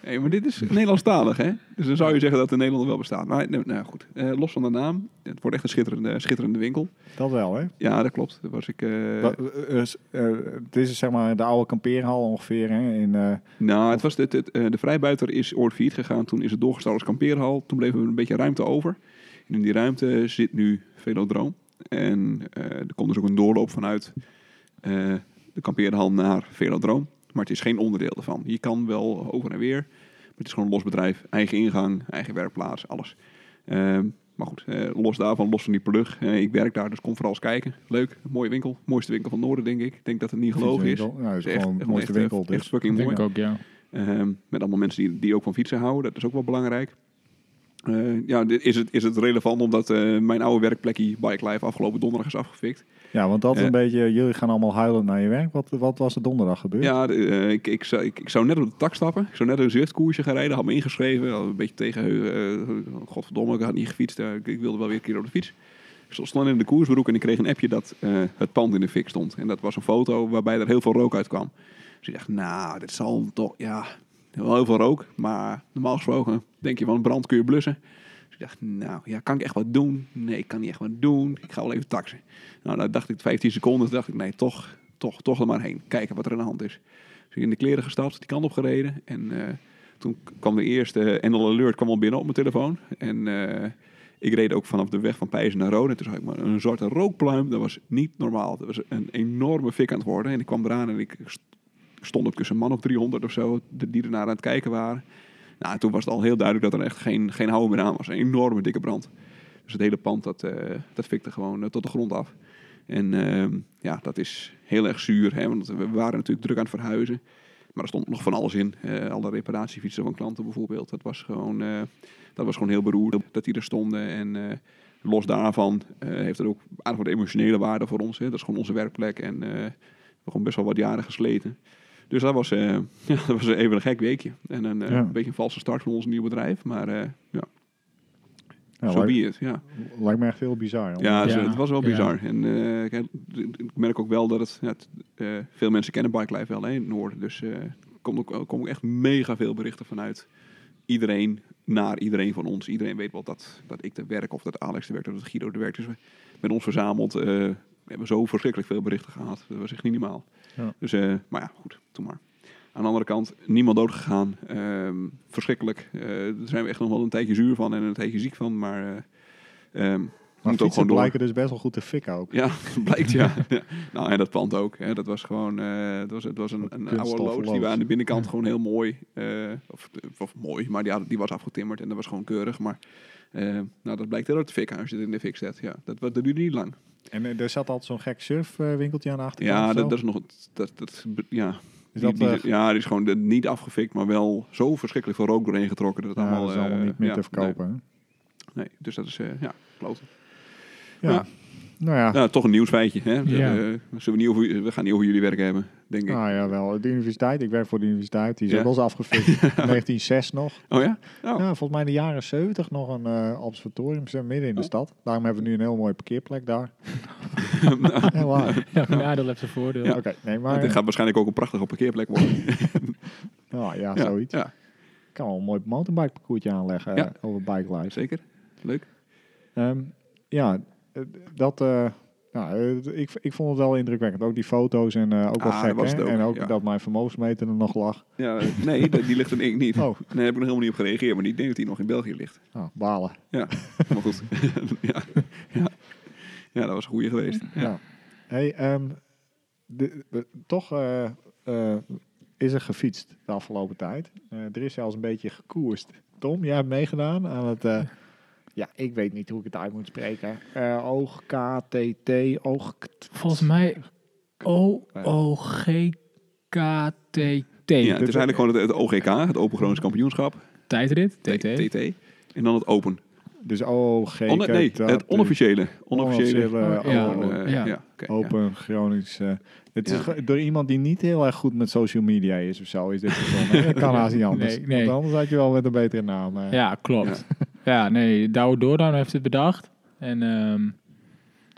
Speaker 2: Hey, maar dit is Nederlandstalig, hè? Dus dan zou je zeggen dat de Nederlander wel bestaat. Maar nou, nou goed, Eh, los van de naam. Het wordt echt een schitterende, schitterende winkel.
Speaker 1: Dat wel, hè?
Speaker 2: Ja, dat klopt. Daar was ik... eh,
Speaker 1: Dat- eh, is, eh, Het is zeg maar de oude kampeerhal ongeveer. Hè? In, eh,
Speaker 2: nou, het was dit, dit, eh, de vrijbuiter is ooit failliet gegaan. Toen is het doorgestart als kampeerhal. Toen bleven we een beetje ruimte over. En in die ruimte zit nu Velodroom. En eh, er komt dus ook een doorloop vanuit eh, de kampeerhal naar Velodroom. Maar het is geen onderdeel ervan. Je kan wel over en weer. Maar het is gewoon een los bedrijf. Eigen ingang, eigen werkplaats, alles. Ehm, maar goed, eh, los daarvan, los van die plug. eh, ik werk daar, dus kom vooral eens kijken. Leuk, mooie winkel. Mooiste winkel van Noorden, denk ik. Ik denk dat het niet gelogen is.
Speaker 1: Nou, het
Speaker 2: Het
Speaker 1: is gewoon de mooiste
Speaker 2: echt, eh,
Speaker 1: winkel.
Speaker 2: Echt
Speaker 1: Dus.
Speaker 2: fucking
Speaker 3: Ik
Speaker 2: mooi.
Speaker 3: denk ook, ja.
Speaker 2: Ehm, met allemaal mensen die, die ook van fietsen houden. Dat is ook wel belangrijk. Eh, ja, dit- is het, is het relevant omdat eh, mijn oude werkplekje Bike Life afgelopen donderdag is afgefikt.
Speaker 1: Ja, want dat is een
Speaker 2: Eh.
Speaker 1: beetje... Jullie gaan allemaal huilen naar je werk. Wat, wat was er donderdag gebeurd?
Speaker 2: Ja, de- eh, ik, ik, zou, ik, ik zou net op de tak stappen. Ik zou net een Zwift-koersje gaan rijden. Had me ingeschreven. Had een beetje tegen... eh, godverdomme, ik had niet gefietst. eh, ik, ik wilde wel weer een keer op de fiets. Ik stond snel in de koersbroek en ik kreeg een appje dat eh, het pand in de fik stond. En dat was een foto waarbij er heel veel rook uit kwam. Dus ik dacht, nou, dit zal toch... Ja, wel heel veel rook. Maar normaal gesproken denk je van brand kun je blussen. Dus ik dacht, nou, ja, kan ik echt wat doen? Nee, ik kan niet echt wat doen. Ik ga wel even taxen. Nou, daar dacht ik 15 seconden. Toen dacht ik, nee, toch, toch, toch er maar heen. Kijken wat er aan de hand is. Dus ik in de kleren gestapt, die kant op gereden. En eh, toen k- kwam de eerste NL Alert kwam al binnen op mijn telefoon. En eh, ik reed ook vanaf de weg van Pijzen naar Rode. En toen zag ik maar een zwarte rookpluim. Dat was niet normaal. Dat was een enorme fik aan het worden. En ik kwam eraan en ik st- stond op tussen een man of 300 of zo. de- Die ernaar aan het kijken waren. Nou, toen was het al heel duidelijk dat er echt geen, geen houden meer aan was. Een enorme dikke brand. Dus het hele pand, dat, eh dat fikte gewoon eh, tot de grond af. En ehm, ja, dat is heel erg zuur, hè, want we waren natuurlijk druk aan het verhuizen. Maar er stond nog van alles in. Eh, alle reparatiefietsen van klanten bijvoorbeeld. Dat was gewoon, eh, dat was gewoon heel beroerd dat die er stonden. En eh, Los daarvan eh, heeft het ook aardig wat emotionele waarde voor ons. Hè. Dat is gewoon onze werkplek en eh, we hebben gewoon best wel wat jaren gesleten. Dus dat was, eh, ja, dat was even een gek weekje. En een, eh,
Speaker 1: Ja.
Speaker 2: een beetje een valse start van ons nieuwe bedrijf. Maar eh, ja, zo so
Speaker 1: lijkt,
Speaker 2: be it. Ja,
Speaker 1: lijkt me echt heel bizar. joh.
Speaker 2: ja,
Speaker 3: Ja.
Speaker 2: zo, het was wel
Speaker 3: Ja.
Speaker 2: bizar. En eh, kijk, ik merk ook wel dat het, ja, het, eh, veel mensen kennen Bike Life wel hè, in het noorden. Dus eh, er komt ook- er komen ook echt mega veel berichten vanuit iedereen naar iedereen van ons. Iedereen weet wel dat, dat ik er werk of dat Alex er werkt of dat Guido er werkt. Dus we- met ons verzameld eh, hebben we zo verschrikkelijk veel berichten gehad. Dat was echt niet normaal.
Speaker 1: Ja.
Speaker 2: Dus, eh, maar ja, goed, toen maar. Aan de andere kant, niemand doodgegaan. Ehm, verschrikkelijk. Eh, daar zijn we echt nog wel een tijdje zuur van en een tijdje ziek van. Maar, eh, ehm,
Speaker 1: Maar
Speaker 2: moet ook
Speaker 1: fietsen
Speaker 2: gewoon door.
Speaker 1: blijken dus best wel goed te fikken ook.
Speaker 2: Ja, blijkt ja. Ja. Nou, en dat pand ook. Hè. Dat was gewoon, eh het was, het was een, een oude
Speaker 1: kunststof
Speaker 2: loods. Die
Speaker 1: loods.
Speaker 2: we aan de binnenkant gewoon heel mooi, eh, of, of mooi, maar die, had- die was afgetimmerd en dat was gewoon keurig. Maar eh, nou, dat blijkt heel dat het fikhuis zit in de fik zet. Ja, dat, dat duurde niet lang.
Speaker 1: En eh, er zat altijd zo'n gek surfwinkeltje aan de achterkant.
Speaker 2: Ja,
Speaker 1: of zo.
Speaker 2: dat, dat is nog, het- dat, dat, ja.
Speaker 1: Is
Speaker 2: Die-
Speaker 1: dat, eh,
Speaker 2: die- ja, die is gewoon de- niet afgefikt, maar wel zo verschrikkelijk veel rook doorheen getrokken dat het
Speaker 1: Ja,
Speaker 2: allemaal...
Speaker 1: dat is allemaal
Speaker 2: eh,
Speaker 1: niet meer
Speaker 2: ja,
Speaker 1: te verkopen. hè?
Speaker 2: Nee, nee. dus dat is, eh, ja, kloten.
Speaker 1: Ja.
Speaker 2: Ja.
Speaker 1: Nou ja,
Speaker 2: Nou, toch een nieuwsfeitje. Hè? Eh,
Speaker 3: Ja.
Speaker 2: zullen we, niet over, we gaan niet over jullie werk hebben, denk ik.
Speaker 1: nou ja, wel. De universiteit, ik werk voor de universiteit, die is
Speaker 2: Ja.
Speaker 1: ook wel eens afgefikt. 1906 nog.
Speaker 2: Oh ja? Oh.
Speaker 1: Ja, volgens mij in de jaren 70 nog een eh, observatorium, zo midden in de
Speaker 2: Oh.
Speaker 1: stad. Daarom hebben we nu een heel mooie parkeerplek daar.
Speaker 2: Nou,
Speaker 1: Ja, eh, waar.
Speaker 3: Ja, maar nadeel heeft zijn voordeel.
Speaker 1: Oké, nee, maar...
Speaker 2: Het gaat waarschijnlijk ook een prachtige parkeerplek worden.
Speaker 1: nou ja, zoiets.
Speaker 2: Ja,
Speaker 1: Ik kan wel een mooi mountainbike parcoursje aanleggen
Speaker 2: Ja.
Speaker 1: eh, over Bike Life.
Speaker 2: zeker. Leuk.
Speaker 1: Ehm, ja, eh, dat... eh, nou, eh, ik, ik vond het wel indrukwekkend. Ook die foto's en eh, ook wel
Speaker 2: Ah,
Speaker 1: gek,
Speaker 2: dat was
Speaker 1: hè?
Speaker 2: het ook,
Speaker 1: En ook
Speaker 2: ja.
Speaker 1: dat mijn vermogensmeter er nog lag.
Speaker 2: Ja, nee, dat- die ligt er ik niet.
Speaker 1: Oh.
Speaker 2: Nee, daar heb ik nog helemaal niet op gereageerd. Maar ik denk dat die nog in België ligt.
Speaker 1: Nou, balen.
Speaker 2: Ja, maar goed. ja. Ja. ja, dat was een goeie geweest.
Speaker 1: Ja. Hey, ehm, de, we- toch eh, eh, is er gefietst de afgelopen tijd. Eh, er is zelfs een beetje gekoerst. Tom, jij hebt meegedaan aan het... eh, ja, ik weet niet hoe ik het uit moet spreken. Eh oog KTT, oog...
Speaker 3: Volgens mij O-O-G-K-T-T.
Speaker 2: Ja, het is eigenlijk gewoon het, het OGK, het Open Gronings Kampioenschap.
Speaker 3: Tijdrit,
Speaker 2: T-
Speaker 3: TT.
Speaker 2: TT. En dan het Open.
Speaker 1: Dus OG...
Speaker 2: Onne- nee, het onofficiële.
Speaker 1: Onofficiële,
Speaker 2: Onofficiële.
Speaker 3: Oh, ja.
Speaker 1: oh,
Speaker 2: Gewoon, eh,
Speaker 3: Ja.
Speaker 2: ja. oké, ja.
Speaker 1: Open Gronings. eh, het
Speaker 2: Ja.
Speaker 1: is ge- door iemand die niet heel erg goed met social media is of zo, is dit verzonnen. Dat kan haast niet anders.
Speaker 3: Nee, nee.
Speaker 1: Want anders had je wel met een betere naam. eh.
Speaker 3: Ja, klopt. Ja, nee, Douwe Doordan heeft het bedacht. En ehm ja,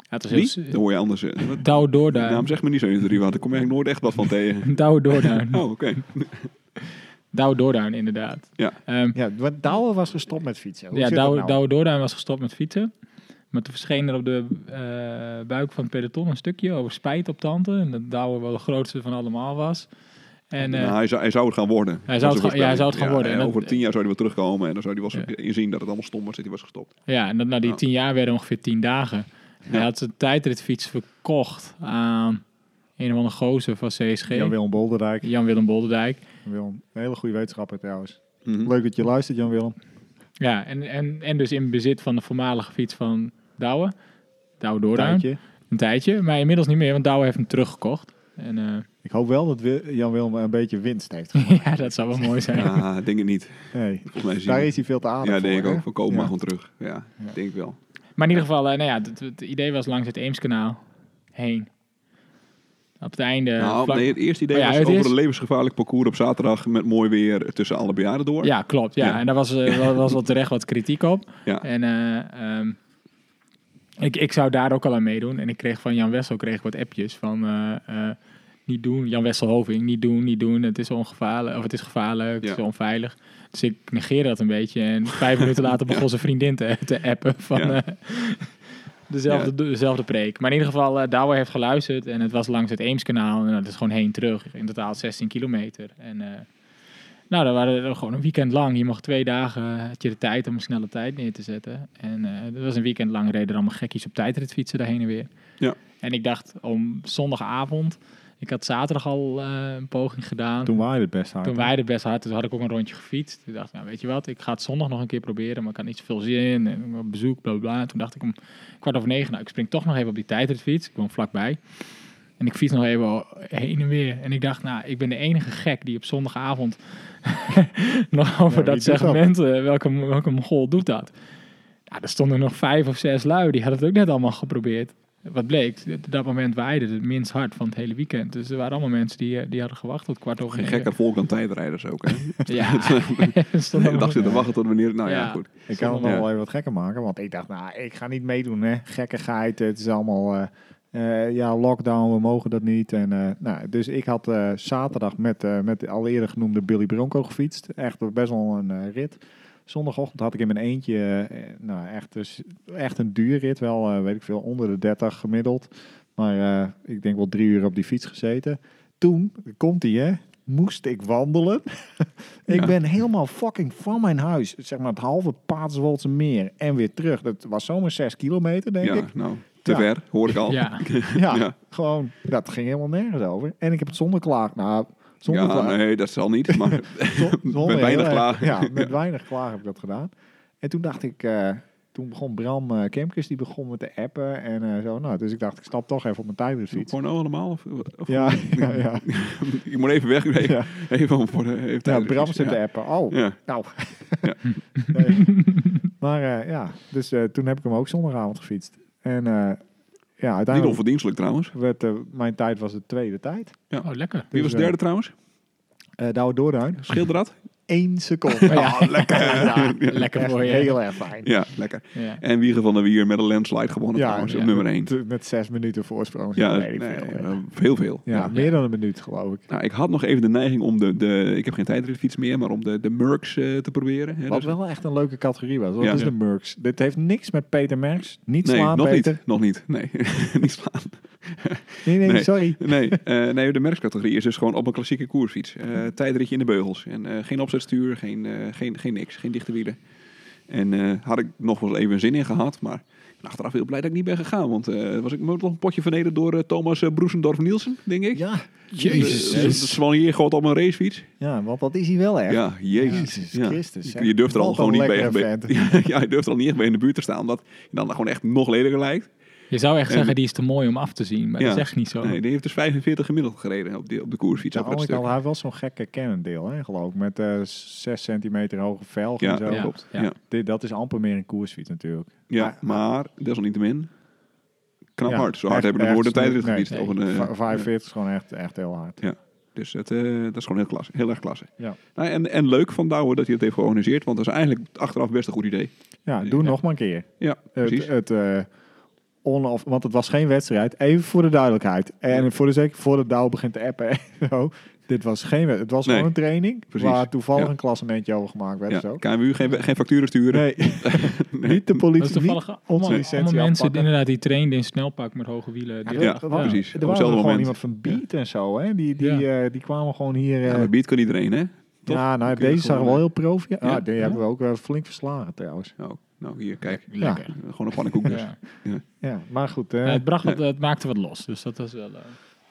Speaker 3: het was heel...
Speaker 2: Die? Dan
Speaker 3: s-
Speaker 2: hoor je anders. eh, wat-
Speaker 3: Douwe
Speaker 2: De naam
Speaker 3: Doordan.
Speaker 2: zegt me niet zo in de drie, want daar kom je eigenlijk nooit echt wat van tegen.
Speaker 3: Douwe Doordan.
Speaker 2: Oh, oké.
Speaker 3: Douwe Doordan, inderdaad.
Speaker 2: Ja.
Speaker 3: Ehm,
Speaker 1: Ja, want Douwe was gestopt met fietsen. Hoe
Speaker 3: ja,
Speaker 1: zit dat
Speaker 3: Douwe,
Speaker 1: nou?
Speaker 3: Douwe Doordan was gestopt met fietsen. Maar toen verscheen er op de eh, buik van het peloton een stukje over spijt op tante. En dat Douwe wel de grootste van allemaal was. En, eh,
Speaker 2: Nou, hij, zou, hij zou het gaan worden.
Speaker 3: Hij zou het
Speaker 2: Dat is
Speaker 3: gaan- ja, hij zou het gaan
Speaker 2: een voorspelling.
Speaker 3: worden. En
Speaker 2: En
Speaker 3: dat-
Speaker 2: over tien jaar zou hij weer terugkomen. En dan zou hij wel eens
Speaker 3: Ja.
Speaker 2: inzien dat het allemaal stom was dat hij was gestopt.
Speaker 3: Ja, en dat, nou, die
Speaker 2: Ja.
Speaker 3: tien jaar werden ongeveer tien dagen. Hij
Speaker 2: Ja.
Speaker 3: had zijn tijdritfiets verkocht aan een of andere gozer van CSG.
Speaker 1: Jan Willem Bolderdijk.
Speaker 3: Jan-Willem Bolderdijk.
Speaker 1: Willem, een hele goede wetenschapper trouwens.
Speaker 2: Mhm.
Speaker 1: Leuk dat je luistert, Jan Willem.
Speaker 3: Ja, en, en, en dus in bezit van de voormalige fiets van Douwe. Douwe Doorduin.
Speaker 1: Tijdje.
Speaker 3: Een tijdje, maar inmiddels niet meer, want Douwe heeft hem teruggekocht. En eh,
Speaker 1: Ik hoop wel dat Wi- Jan Willem een beetje winst heeft. gehad.
Speaker 3: ja, dat zou wel mooi zijn.
Speaker 2: Ja, denk het niet.
Speaker 1: Nee,
Speaker 2: Volgens mij zien
Speaker 1: daar
Speaker 2: we-
Speaker 1: is hij veel te aardig
Speaker 2: Ja,
Speaker 1: voor.
Speaker 2: denk ik
Speaker 1: hè?
Speaker 2: ook. Van komen
Speaker 1: Ja.
Speaker 2: maar gewoon terug. Ja,
Speaker 1: Ja.
Speaker 2: denk ik wel.
Speaker 3: Maar in ieder geval, eh, nou ja, het, het idee was langs het Eemskanaal heen. Op het einde...
Speaker 2: nou,
Speaker 3: Eh, vlak-
Speaker 2: nee, het eerste idee
Speaker 3: Oh ja,
Speaker 2: was
Speaker 3: het
Speaker 2: over
Speaker 3: is-
Speaker 2: een levensgevaarlijk parcours op zaterdag met mooi weer tussen alle bejaarden door.
Speaker 3: Ja, klopt. Ja.
Speaker 2: Ja.
Speaker 3: En daar was, eh, wel- was wel terecht wat kritiek op.
Speaker 2: Ja.
Speaker 3: En eh, ehm, ik, ik zou daar ook al aan meedoen. En ik kreeg van Jan Wessel kreeg ik wat appjes van... eh, eh, niet doen, Jan Wessel Hoving, niet doen, niet doen. Het is ongevaarlijk, of het is gevaarlijk, het
Speaker 2: Ja.
Speaker 3: is onveilig. Dus ik negeerde dat een beetje. En vijf minuten later begon zijn vriendin te, te appen van
Speaker 2: Ja.
Speaker 3: eh, dezelfde, dezelfde preek. Maar in ieder geval, eh Douwe heeft geluisterd en het was langs het Eemskanaal. En nou, dat is gewoon heen terug, in totaal 16 kilometer. En eh, nou, dan waren er gewoon een weekend lang. Je mocht twee dagen, eh, had je de tijd om een snelle tijd neer te zetten. En eh, dat was een weekend lang, reden er allemaal gekkies op tijdrit fietsen daarheen en weer.
Speaker 2: Ja.
Speaker 3: En ik dacht om zondagavond, ik had zaterdag al eh, een poging gedaan. Toen,
Speaker 1: Toen waren het best hard. hè?
Speaker 3: wij het best hard, toen had ik ook een rondje gefietst. Toen dacht ik, nou weet je wat, ik ga het zondag nog een keer proberen, maar ik had niet zoveel zin. En ik had bezoek, bla bla bla. En Toen dacht ik om kwart over negen, nou ik spring toch nog even op die tijdritfiets. Ik woon vlakbij. En ik fiets nog even heen en weer. En ik dacht, nou, ik ben de enige gek die op zondagavond nog over
Speaker 1: wie
Speaker 3: dat
Speaker 1: doet dat?
Speaker 3: segment, eh, welke, welke mogol doet dat? Ja, er stonden nog vijf of zes lui. Die hadden het ook net allemaal geprobeerd. Wat bleek, op dat moment waaide het minst hard van het hele weekend. Dus er waren allemaal mensen die, eh, die hadden gewacht tot kwart over
Speaker 2: Geen
Speaker 3: negen.
Speaker 2: gekker volk dan tijdrijders ook. Hè?
Speaker 3: Ja, Er
Speaker 2: De
Speaker 3: stonden
Speaker 2: hele dag
Speaker 3: allemaal-
Speaker 2: zitten wachten tot wanneer... Nou ja,
Speaker 3: Ja.
Speaker 2: goed.
Speaker 1: Ik kan het
Speaker 2: Ja.
Speaker 1: nog wel even wat gekker maken, want ik dacht, nou, ik ga niet meedoen, hè. Gekkigheid, het is allemaal, eh, eh, ja, lockdown, we mogen dat niet. En, eh, nou, dus ik had eh, zaterdag met, eh, met de al eerder genoemde Billy Bronco gefietst. Echt best wel een eh, rit. Zondagochtend had ik in mijn eentje, eh, nou, echt, dus, echt een duur rit, wel, eh, weet ik veel, onder de 30 gemiddeld. Maar eh, ik denk wel drie uur op die fiets gezeten. Toen, komt ie hè, moest ik wandelen. ik
Speaker 2: Ja.
Speaker 1: ben helemaal fucking van mijn huis. Zeg maar het halve Paatswoldse meer en weer terug. Dat was zomaar zes kilometer, denk ik.
Speaker 2: Ja, nou, te
Speaker 1: Ja.
Speaker 2: ver, hoor ik al.
Speaker 3: Ja,
Speaker 1: Ja,
Speaker 2: Ja.
Speaker 1: gewoon, dat ging helemaal nergens over. En ik heb het zonder klaag. Nou, zonder
Speaker 2: Ja,
Speaker 1: klaag.
Speaker 2: nee, dat zal niet. Maar
Speaker 1: Zon- zonder
Speaker 2: met weinig
Speaker 1: heel erg-
Speaker 2: klaar.
Speaker 1: Ja, met weinig klaar heb ik dat gedaan. En toen dacht ik, eh, toen begon Bram eh Kemkes, die begon met de appen en eh, zo. Nou, dus ik dacht, ik stap toch even op mijn tijdritfiets.
Speaker 2: Porno nou allemaal? Of, of-
Speaker 1: Ja, ja, ja.
Speaker 2: ik moet even weg. Even,
Speaker 1: Ja.
Speaker 2: even voor de, even
Speaker 1: ja
Speaker 2: tijdens-
Speaker 1: Nou, Bram zit
Speaker 2: ja.
Speaker 1: te appen. Oh,
Speaker 2: Ja.
Speaker 1: nou.
Speaker 2: Ja.
Speaker 1: Nee. Maar eh, ja, dus eh, toen heb ik hem ook zondagavond gefietst. En eh, ja,
Speaker 2: Niet
Speaker 1: uiteindelijk
Speaker 2: onverdienstelijk trouwens.
Speaker 1: werd eh, mijn tijd was de tweede tijd.
Speaker 3: oh lekker.
Speaker 2: Wie
Speaker 1: Dus,
Speaker 2: was de
Speaker 1: eh,
Speaker 2: derde trouwens?
Speaker 1: Eh Douwe Doorduin,
Speaker 2: Scheelde dat?
Speaker 1: één seconde.
Speaker 3: Ja,
Speaker 1: lekker.
Speaker 3: lekker voor je.
Speaker 1: Heel erg fijn.
Speaker 2: Ja, lekker.
Speaker 3: Ja.
Speaker 2: En Wiegen van der Wier met een landslide gewonnen
Speaker 1: Ja,
Speaker 2: trouwens,
Speaker 3: ja.
Speaker 2: op nummer 1.
Speaker 1: Met- Met zes minuten voorsprong.
Speaker 2: Ja,
Speaker 1: weet ik
Speaker 2: nee,
Speaker 1: veel.
Speaker 2: eh, heel veel.
Speaker 1: Ja,
Speaker 3: Ja.
Speaker 1: meer dan een minuut geloof ik.
Speaker 2: Nou, ik had nog even de neiging om de, de ik heb geen tijdritfiets meer, maar om de, de Mercs eh, te proberen. Hè,
Speaker 1: Wat
Speaker 2: dus-
Speaker 1: wel echt een leuke categorie was. Dat
Speaker 2: Ja.
Speaker 1: is
Speaker 2: Ja.
Speaker 1: de Murks. Dit heeft niks met Peter Merks. Niet
Speaker 2: nee,
Speaker 1: slaan,
Speaker 2: nog
Speaker 1: Peter.
Speaker 2: niet. Nog niet. Nee, niet slaan.
Speaker 1: Nee, nee,
Speaker 2: Nee.
Speaker 1: sorry.
Speaker 2: Nee, eh, nee, de merkscategorie is dus gewoon op een klassieke koersfiets. Eh, tijdritje in de beugels. En eh, geen opzetstuur, geen, eh, geen, geen niks, geen dichte wielen. En eh, had ik nog wel even zin in gehad, maar ik ben achteraf heel blij dat ik niet ben gegaan. Want eh, was ik nog een potje vernederd door eh, Thomas eh, Broesendorf-Nielsen, denk ik.
Speaker 1: Ja.
Speaker 2: dus-
Speaker 3: Jezus.
Speaker 2: De, de, sommelier gooit op een racefiets.
Speaker 1: ja, want dat is hij wel echt.
Speaker 2: Ja, jezus.
Speaker 1: Jezus
Speaker 2: Ja.
Speaker 1: Christus,
Speaker 2: Je-
Speaker 1: hè.
Speaker 2: Je durft er al
Speaker 1: Wat
Speaker 2: gewoon
Speaker 1: een
Speaker 2: niet bij.
Speaker 1: lekkere
Speaker 2: bij- Ja, je durft er al niet echt bij in de buurt te staan, omdat je dan gewoon echt nog lelijker lijkt.
Speaker 3: Je zou echt
Speaker 2: En-
Speaker 3: zeggen, die is te mooi om af te zien. Maar
Speaker 2: Ja.
Speaker 3: dat is echt niet zo.
Speaker 2: Nee, die heeft dus 45 gemiddeld gereden op, die, op de koersfiets.
Speaker 1: Ja,
Speaker 2: over dat
Speaker 1: Annika,
Speaker 2: stuk.
Speaker 1: Nou, hij had wel zo'n gekke cannondeel, hè, geloof ik. Met eh 6 centimeter hoge velg
Speaker 2: Ja,
Speaker 1: en zo.
Speaker 3: Ja,
Speaker 2: klopt.
Speaker 3: ja.
Speaker 2: Ja.
Speaker 1: Dit, dat is amper meer een koersfiets natuurlijk.
Speaker 2: Ja, maar desalniettemin. Knap
Speaker 1: Ja,
Speaker 2: hard. Zo hard
Speaker 1: echt-
Speaker 2: hebben de woorden
Speaker 1: echt-
Speaker 2: tijdrit
Speaker 1: nee,
Speaker 2: gefietst.
Speaker 3: nee.
Speaker 2: Of een, eh,
Speaker 1: Va- 45 is gewoon echt, echt heel hard.
Speaker 2: Dus het, eh, dat is gewoon heel, klasse, heel erg klasse.
Speaker 1: Ja.
Speaker 2: Nou, en, en leuk van Douwe dat hij het heeft georganiseerd. Want dat is eigenlijk achteraf best een goed idee.
Speaker 1: Ja, doe
Speaker 2: Ja.
Speaker 1: nog maar een keer.
Speaker 2: Ja,
Speaker 1: Het,
Speaker 2: precies.
Speaker 1: het, eh, on-off- want het was geen wedstrijd. Even voor de duidelijkheid. En voor de zeker voordat Douw begint te appen. en zo. dit was geen wedstrijd. Het was
Speaker 2: Nee,
Speaker 1: gewoon een training.
Speaker 2: precies.
Speaker 1: Waar toevallig
Speaker 2: Ja.
Speaker 1: een klassementje over gemaakt werd.
Speaker 2: Ja,
Speaker 1: of Zo.
Speaker 2: KMU, geen, geen facturen sturen.
Speaker 1: Nee,
Speaker 2: Nee.
Speaker 1: niet de politie.
Speaker 3: Dat is toevallig
Speaker 1: niet
Speaker 3: allemaal,
Speaker 1: onze licentie
Speaker 3: allemaal mensen die,
Speaker 1: afpakken.
Speaker 3: inderdaad die trainden in snelpak met hoge wielen. Die-
Speaker 1: Ja,
Speaker 2: Ja,
Speaker 1: dat- dat was-
Speaker 2: precies. Op
Speaker 1: Er was
Speaker 2: hetzelfde
Speaker 1: gewoon
Speaker 2: moment.
Speaker 1: iemand van Beat en zo. Hè? Die, die, eh, die kwamen gewoon hier... eh,
Speaker 2: Ja, maar biedt kan iedereen, hè? toch?
Speaker 1: ja, nou,
Speaker 2: kun je
Speaker 1: deze zag
Speaker 2: gewoon,
Speaker 1: wel heel profi.
Speaker 2: ja.
Speaker 1: Ah, die hebben we ook eh, flink verslagen trouwens.
Speaker 2: Oh, nou, hier, kijk.
Speaker 1: Lekker.
Speaker 2: Gewoon een pannenkoek dus.
Speaker 3: Ja.
Speaker 1: Ja, maar goed. eh,
Speaker 3: Ja, het, bracht wat, het maakte wat los, dus dat was wel... eh,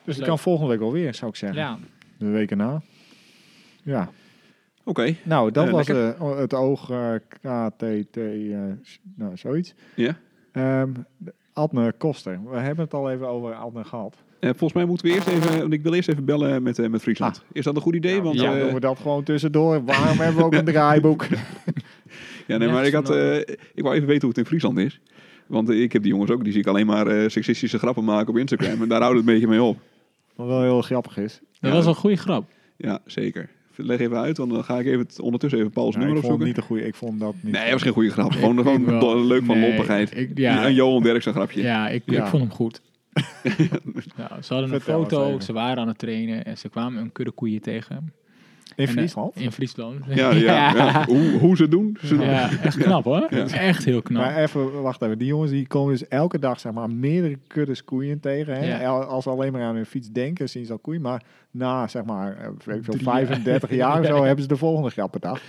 Speaker 1: dus ik
Speaker 3: leuk.
Speaker 1: kan volgende week alweer, zou ik zeggen.
Speaker 3: ja,
Speaker 1: De week erna. Ja.
Speaker 2: Oké.
Speaker 1: Nou, dat
Speaker 2: Eh,
Speaker 1: was eh, het oog eh, KTT, eh, s- nou, zoiets.
Speaker 2: Ja.
Speaker 1: Ehm, de- Adne Koster. We hebben het al even over Adne gehad.
Speaker 2: Eh, volgens mij moeten we eerst even... Want ik wil eerst even bellen met, eh, met Friesland. Is dat een goed idee? want,
Speaker 1: dan
Speaker 2: eh,
Speaker 1: doen we dat gewoon tussendoor. Waarom hebben we ook een draaiboek?
Speaker 2: Ja, nee, maar ik, had, eh, ik wou even weten hoe het in Friesland is. Want eh, ik heb die jongens ook, die zie ik alleen maar eh, seksistische grappen maken op Instagram. En daar houdt het een beetje mee op.
Speaker 1: Wat wel heel grappig is.
Speaker 3: dat
Speaker 2: Ja.
Speaker 3: was een goede grap.
Speaker 2: Ja, zeker. Leg even uit, want dan ga ik even het- ondertussen even Paul's
Speaker 1: Nou, ik
Speaker 2: nummer
Speaker 1: vond het
Speaker 2: opzoeken.
Speaker 1: niet een goede. Ik vond dat niet.
Speaker 2: Nee, dat was geen goede grap. Gewoon,
Speaker 3: ik
Speaker 2: gewoon
Speaker 3: wel.
Speaker 2: do- leuk van
Speaker 3: Nee,
Speaker 2: lompigheid.
Speaker 3: ik- ja.
Speaker 2: Een Johan Derksen grapje.
Speaker 3: Ja, ik,
Speaker 1: Ja.
Speaker 3: ik vond hem goed. Ja, ze hadden een
Speaker 1: Vertel eens
Speaker 3: foto,
Speaker 1: even.
Speaker 3: ze waren aan het trainen en ze kwamen een kudde koeien tegen.
Speaker 1: in
Speaker 3: En, eh,
Speaker 1: Friesland.
Speaker 3: in Friesland.
Speaker 2: Ja, ja, ja. Hoe, hoe ze het doen. Ze doen.
Speaker 3: Ja, echt knap hoor. Echt heel knap.
Speaker 1: Maar even, wacht even. Die jongens die komen dus elke dag zeg maar meerdere kuddes koeien tegen. Hè?
Speaker 3: Ja.
Speaker 1: El- Als ze alleen maar aan hun fiets denken, zien ze al koeien. Maar na zeg maar eh, weet ik veel,
Speaker 3: Drie
Speaker 1: 35 jaar of zo hebben ze de volgende grappendag.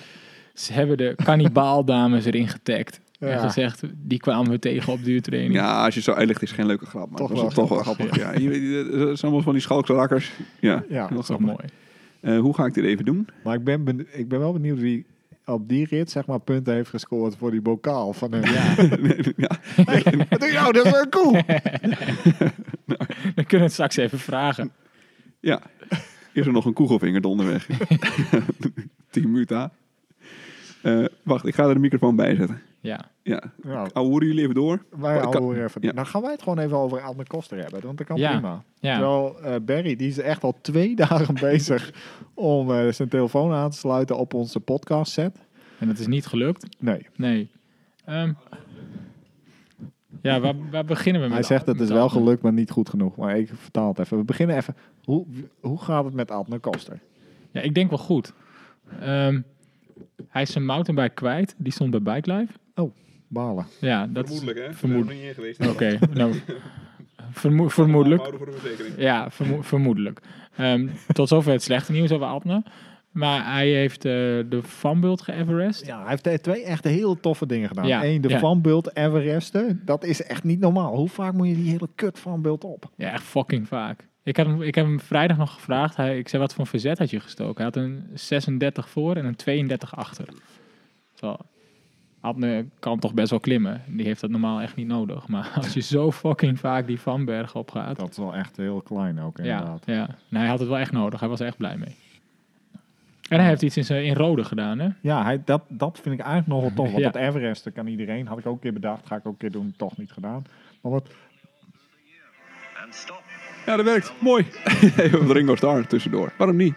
Speaker 3: Ze hebben de kannibaaldames erin getagd. En
Speaker 1: Ja.
Speaker 3: gezegd, die kwamen we tegen op duurtraining.
Speaker 2: Ja, als je het zo uitlegt, is het geen leuke grap. Maar
Speaker 1: Toch
Speaker 2: het was
Speaker 1: wel
Speaker 2: toch wel grappig. Ja. je weet, eh, Het zijn allemaal van die schalkse rakkers. Ja,
Speaker 1: Ja.
Speaker 2: heel
Speaker 3: Dat is toch
Speaker 2: grappig.
Speaker 3: mooi.
Speaker 2: Eh, hoe ga ik dit even doen?
Speaker 1: Maar ik ben, benieu- ik ben wel benieuwd wie op die rit zeg maar punten heeft gescoord voor die bokaal van hun. Ja.
Speaker 2: ja.
Speaker 1: Wat doe je nou? Dat is wel cool.
Speaker 3: We kunnen het straks even vragen.
Speaker 2: Ja. Is er nog een koegelvinger onderweg? 10 muta. Eh, wacht, ik ga er de microfoon bij zetten.
Speaker 3: Ja.
Speaker 2: Ja.
Speaker 1: Nou,
Speaker 2: Auri leeft door.
Speaker 1: wij
Speaker 2: ik kan-
Speaker 1: houden even.
Speaker 2: ja.
Speaker 1: Nou gaan wij het gewoon even over Adne Koster hebben, want dat kan
Speaker 3: Ja.
Speaker 1: prima.
Speaker 3: Ja.
Speaker 1: Terwijl eh, Barry, die is echt al twee dagen bezig om eh, zijn telefoon aan te sluiten op onze podcast set.
Speaker 3: En dat is niet gelukt.
Speaker 1: Nee,
Speaker 3: Nee. Ehm, ja, waar, waar beginnen we met?
Speaker 1: hij zegt dat
Speaker 3: met
Speaker 1: het is wel
Speaker 3: Adne?
Speaker 1: gelukt, maar niet goed genoeg. Maar ik vertaal het even. We beginnen even. Hoe, hoe gaat het met Adne Koster?
Speaker 3: Ja, ik denk wel goed. Ehm, hij is zijn mountainbike kwijt. Die stond bij Bike Life.
Speaker 1: Balen.
Speaker 3: Ja, dat is-
Speaker 2: Vermoedelijk, hè?
Speaker 3: vermoed-
Speaker 2: niet in geweest.
Speaker 3: Oké, nou... vermoe- vermoedelijk.
Speaker 2: Houden voor de verzekering.
Speaker 3: Ja, vermo- vermoedelijk. Ehm, tot zover het slechte nieuws over Adne. Maar hij heeft eh, de Vanbult geëverest.
Speaker 1: Ja, hij heeft eh, twee echt heel toffe dingen gedaan.
Speaker 3: Ja,
Speaker 1: Eén, de
Speaker 3: ja.
Speaker 1: vanbult Everesten. Dat is echt niet normaal. Hoe vaak moet je die hele kut vanbult op?
Speaker 3: Ja, echt fucking vaak. Ik, had hem, ik heb hem vrijdag nog gevraagd. Hij, ik zei, wat voor verzet had je gestoken? Hij had een 36 voor en een 32 achter. Zo. Adne kan toch best wel klimmen. Die heeft dat normaal echt niet nodig. Maar als je zo fucking vaak die Vanberg opgaat...
Speaker 1: Dat is wel echt heel klein ook,
Speaker 3: Ja,
Speaker 1: inderdaad.
Speaker 3: ja. En hij had het wel echt nodig. Hij was er echt blij mee. En hij heeft iets in, zijn, in rode gedaan, hè?
Speaker 1: Ja, hij, dat, dat vind ik eigenlijk nog wel tof. Want
Speaker 3: Ja.
Speaker 1: dat Everesten kan iedereen. Had ik ook een keer bedacht. Ga ik ook een keer doen. Toch niet gedaan. Maar wat,
Speaker 4: And stop.
Speaker 2: Ja, dat werkt. Mooi. Even Ringo Starr tussendoor. Waarom niet?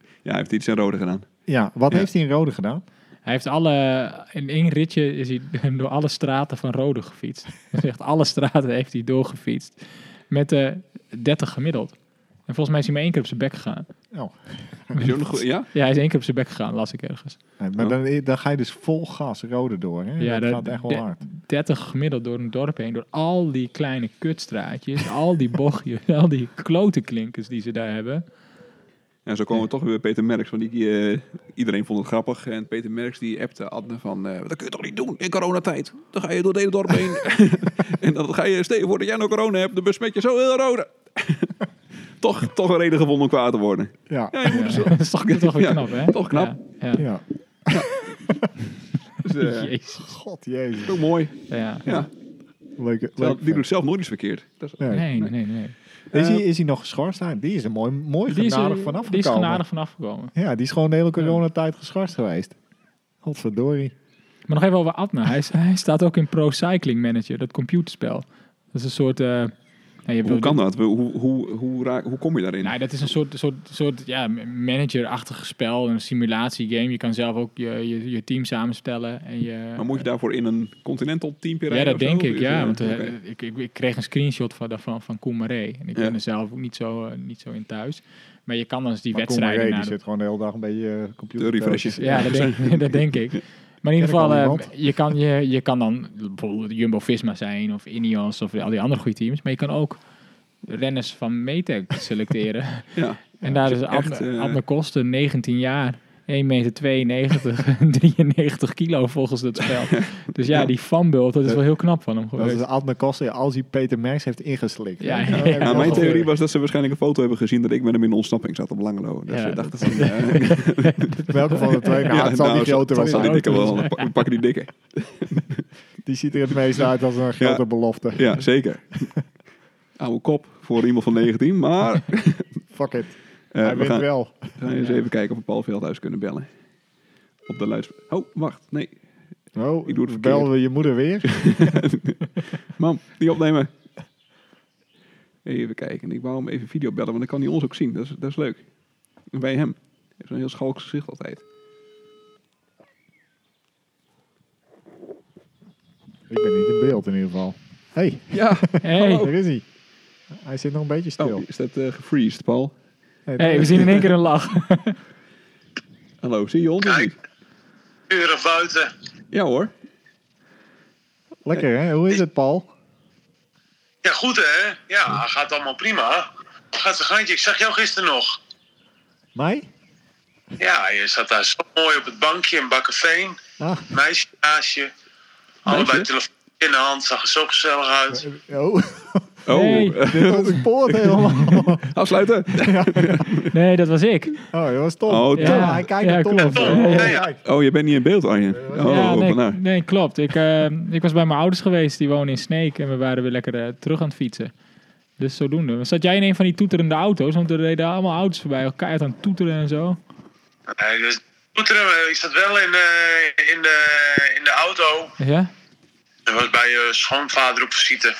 Speaker 2: Ja, hij heeft iets in rode gedaan.
Speaker 1: ja, wat
Speaker 2: Ja.
Speaker 1: heeft hij in rode gedaan?
Speaker 3: Hij heeft alle... In één ritje is hij door alle straten van rode gefietst. Dus echt alle straten heeft hij doorgefietst. Met eh 30 gemiddeld. En volgens mij is hij maar één keer op zijn bek gegaan.
Speaker 1: Oh,
Speaker 2: Is hij ook nog goed? Ja?
Speaker 3: Ja, hij is één keer op zijn bek gegaan, las ik ergens.
Speaker 1: nee, maar dan, dan ga je dus vol gas rode door. Hè?
Speaker 3: Ja,
Speaker 1: dat,
Speaker 3: dat-
Speaker 1: gaat echt wel
Speaker 3: dat-
Speaker 1: hard.
Speaker 3: 30 gemiddeld door een dorp heen. Door al die kleine kutstraatjes. al die bochtjes. Al die klote klinkers die ze daar hebben.
Speaker 2: En zo komen we toch weer bij Peter Merks. Want die, eh, iedereen vond het grappig. En Peter Merks die appte Adne van... eh, dat kun je toch niet doen in coronatijd? Dan ga je door het hele dorp heen. en dan ga je... Stel je voor dat jij nou corona hebt. Dan besmet je zo heel rode. toch, toch een reden gevonden om kwaad te worden.
Speaker 1: Ja,
Speaker 2: Ja, je moet
Speaker 3: Ja, dat is toch, toch weer
Speaker 2: Ja,
Speaker 3: knap, hè?
Speaker 2: toch knap.
Speaker 3: Ja, ja.
Speaker 1: ja.
Speaker 2: Dus, eh,
Speaker 3: Jezus.
Speaker 1: God, jezus.
Speaker 2: ook mooi.
Speaker 3: Ja.
Speaker 2: Ja.
Speaker 1: Leuke,
Speaker 2: Terwijl,
Speaker 1: leuke
Speaker 2: die doet zelf nooit iets verkeerd. Dat is-
Speaker 1: Nee.
Speaker 3: Nee, nee, nee.
Speaker 1: Is, hij, is hij nog geschorst? Ah, die is er mooi, mooi
Speaker 3: Die is,
Speaker 1: genadig
Speaker 3: eh,
Speaker 1: vanaf
Speaker 3: die is
Speaker 1: gekomen.
Speaker 3: genadig vanaf gekomen.
Speaker 1: Ja, die is gewoon de hele coronatijd geschorst geweest. Godverdorie.
Speaker 3: Maar nog even over Adna. Hij, is- hij staat ook in Pro Cycling Manager, dat computerspel. Dat is een soort... eh, nou, je hebt wel-
Speaker 2: Hoe kan dat? Hoe, hoe, hoe, raak, hoe kom je daarin?
Speaker 3: Nou, dat is een soort, soort, soort ja, managerachtig spel, een simulatiegame. Je kan zelf ook je, je, je team samenstellen. En je,
Speaker 2: Maar moet je daarvoor in een continental teampje
Speaker 3: ja,
Speaker 2: rijden?
Speaker 3: dat
Speaker 2: of zo?
Speaker 3: denk ik,
Speaker 2: Is,
Speaker 3: ja.
Speaker 2: eh,
Speaker 3: Want eh,
Speaker 2: oké.
Speaker 3: ik, ik, ik kreeg een screenshot van, daarvan, van Koen Marais. En ik
Speaker 2: Ja.
Speaker 3: ben er zelf ook niet zo, eh, niet zo in thuis. Maar je kan dan eens die
Speaker 1: Maar Koen
Speaker 3: wedstrijden...
Speaker 1: Maré,
Speaker 3: na
Speaker 1: die
Speaker 3: de-
Speaker 1: zit gewoon de hele dag een beetje eh computer.
Speaker 2: De refreshes.
Speaker 3: Ja, dat denk, dat denk ik. Maar in ieder
Speaker 1: Ken ik
Speaker 3: geval,
Speaker 1: al
Speaker 3: eh,
Speaker 1: iemand?
Speaker 3: je, kan, je, je kan dan bijvoorbeeld Jumbo-Visma zijn of Ineos of al die andere goede teams. Maar je kan ook renners van Metec selecteren.
Speaker 2: Ja.
Speaker 3: en daar is
Speaker 2: echt,
Speaker 3: Adne,
Speaker 2: eh,
Speaker 3: Adne Koster, 19 jaar, 1 meter 92, 93 kilo volgens dat spel. Dus ja,
Speaker 2: Ja.
Speaker 3: die fanbult, dat is wel heel knap van hem
Speaker 1: Dat
Speaker 3: geweest.
Speaker 1: is Adne Koster als hij Peter Merks heeft ingeslikt.
Speaker 3: Ja,
Speaker 1: hè?
Speaker 3: ja,
Speaker 1: Dan heb je
Speaker 2: Ja,
Speaker 3: ja,
Speaker 1: wel
Speaker 2: Nou, mijn
Speaker 1: gehoord.
Speaker 2: theorie was dat ze waarschijnlijk een foto hebben gezien dat ik met hem in ontsnapping zat op Langelo. Dus
Speaker 3: Ja,
Speaker 2: ze dachten
Speaker 3: dat-
Speaker 2: van... eh,
Speaker 1: Welke van de twee? Nou, het zal
Speaker 2: nou,
Speaker 1: die grote wel
Speaker 2: het zal die
Speaker 1: zijn.
Speaker 2: dikke wel. We pakken- we pakken die dikke.
Speaker 1: Die ziet er het meest uit als een grote belofte.
Speaker 2: Ja, zeker. Oude kop voor iemand van 19, maar eh,
Speaker 1: Fuck it. hij
Speaker 2: we
Speaker 1: wint
Speaker 2: gaan,
Speaker 1: wel.
Speaker 2: gaan eens even kijken of we Paul Veldhuis kunnen bellen. Op de luidspreker. Oh, wacht. Nee.
Speaker 1: Oh,
Speaker 2: Ik doe het verkeerd.
Speaker 1: belden we je moeder weer?
Speaker 2: Mam, die opnemen. Even kijken. Ik wou hem even video bellen, want dan kan hij ons ook zien. Dat is, dat is leuk. En bij hem. Hij heeft zo'n heel schalks gezicht altijd.
Speaker 1: Ik ben niet in beeld in ieder geval. hey,
Speaker 2: Ja.
Speaker 3: Hey,
Speaker 1: daar is hij. Hij zit nog een beetje stil.
Speaker 2: Oh, is dat eh gefreezed, Paul?
Speaker 1: Hey,
Speaker 3: hey, we zien in één keer een lach.
Speaker 2: Hallo, zie je ons of niet?
Speaker 4: Uren buiten.
Speaker 2: Ja hoor.
Speaker 1: Lekker hè? Hoe is het Paul?
Speaker 4: Ja, goed hè? Ja, gaat allemaal prima. Gaat zijn gaantje. Ik zag jou gisteren nog.
Speaker 1: Mij?
Speaker 4: Ja, je zat daar zo mooi op het bankje in Bakkerveen.
Speaker 1: Ah,
Speaker 4: Meisje naast je. Allebei telefoon in de hand. Zag er zo gezellig uit.
Speaker 1: oh,
Speaker 2: Oh,
Speaker 3: Nee.
Speaker 1: dit ontspoort helemaal.
Speaker 2: afsluiten.
Speaker 3: Nee, dat was ik.
Speaker 1: Oh, dat was Tom.
Speaker 2: Oh,
Speaker 1: ja.
Speaker 2: Tom.
Speaker 1: hij kijkt
Speaker 3: Ja,
Speaker 1: naar Tom.
Speaker 3: klopt.
Speaker 1: Oh,
Speaker 4: Ja,
Speaker 1: hij
Speaker 4: ja.
Speaker 1: kijkt.
Speaker 2: Oh, je bent niet in beeld, Arjen. Oh,
Speaker 3: ja, nee,
Speaker 2: nou.
Speaker 3: nee, klopt. Ik, eh, ik was bij mijn ouders geweest, die wonen in Sneek. En we waren weer lekker eh, terug aan het fietsen. Dus zodoende. Zat jij in een van die toeterende auto's? Want er reden allemaal auto's voorbij, elkaar aan het toeteren en zo.
Speaker 4: Nee, dus, toeteren, maar ik zat wel in, eh, in, eh, de, in de auto auto.
Speaker 3: Ja?
Speaker 4: Dat was bij eh schoonvader op visite.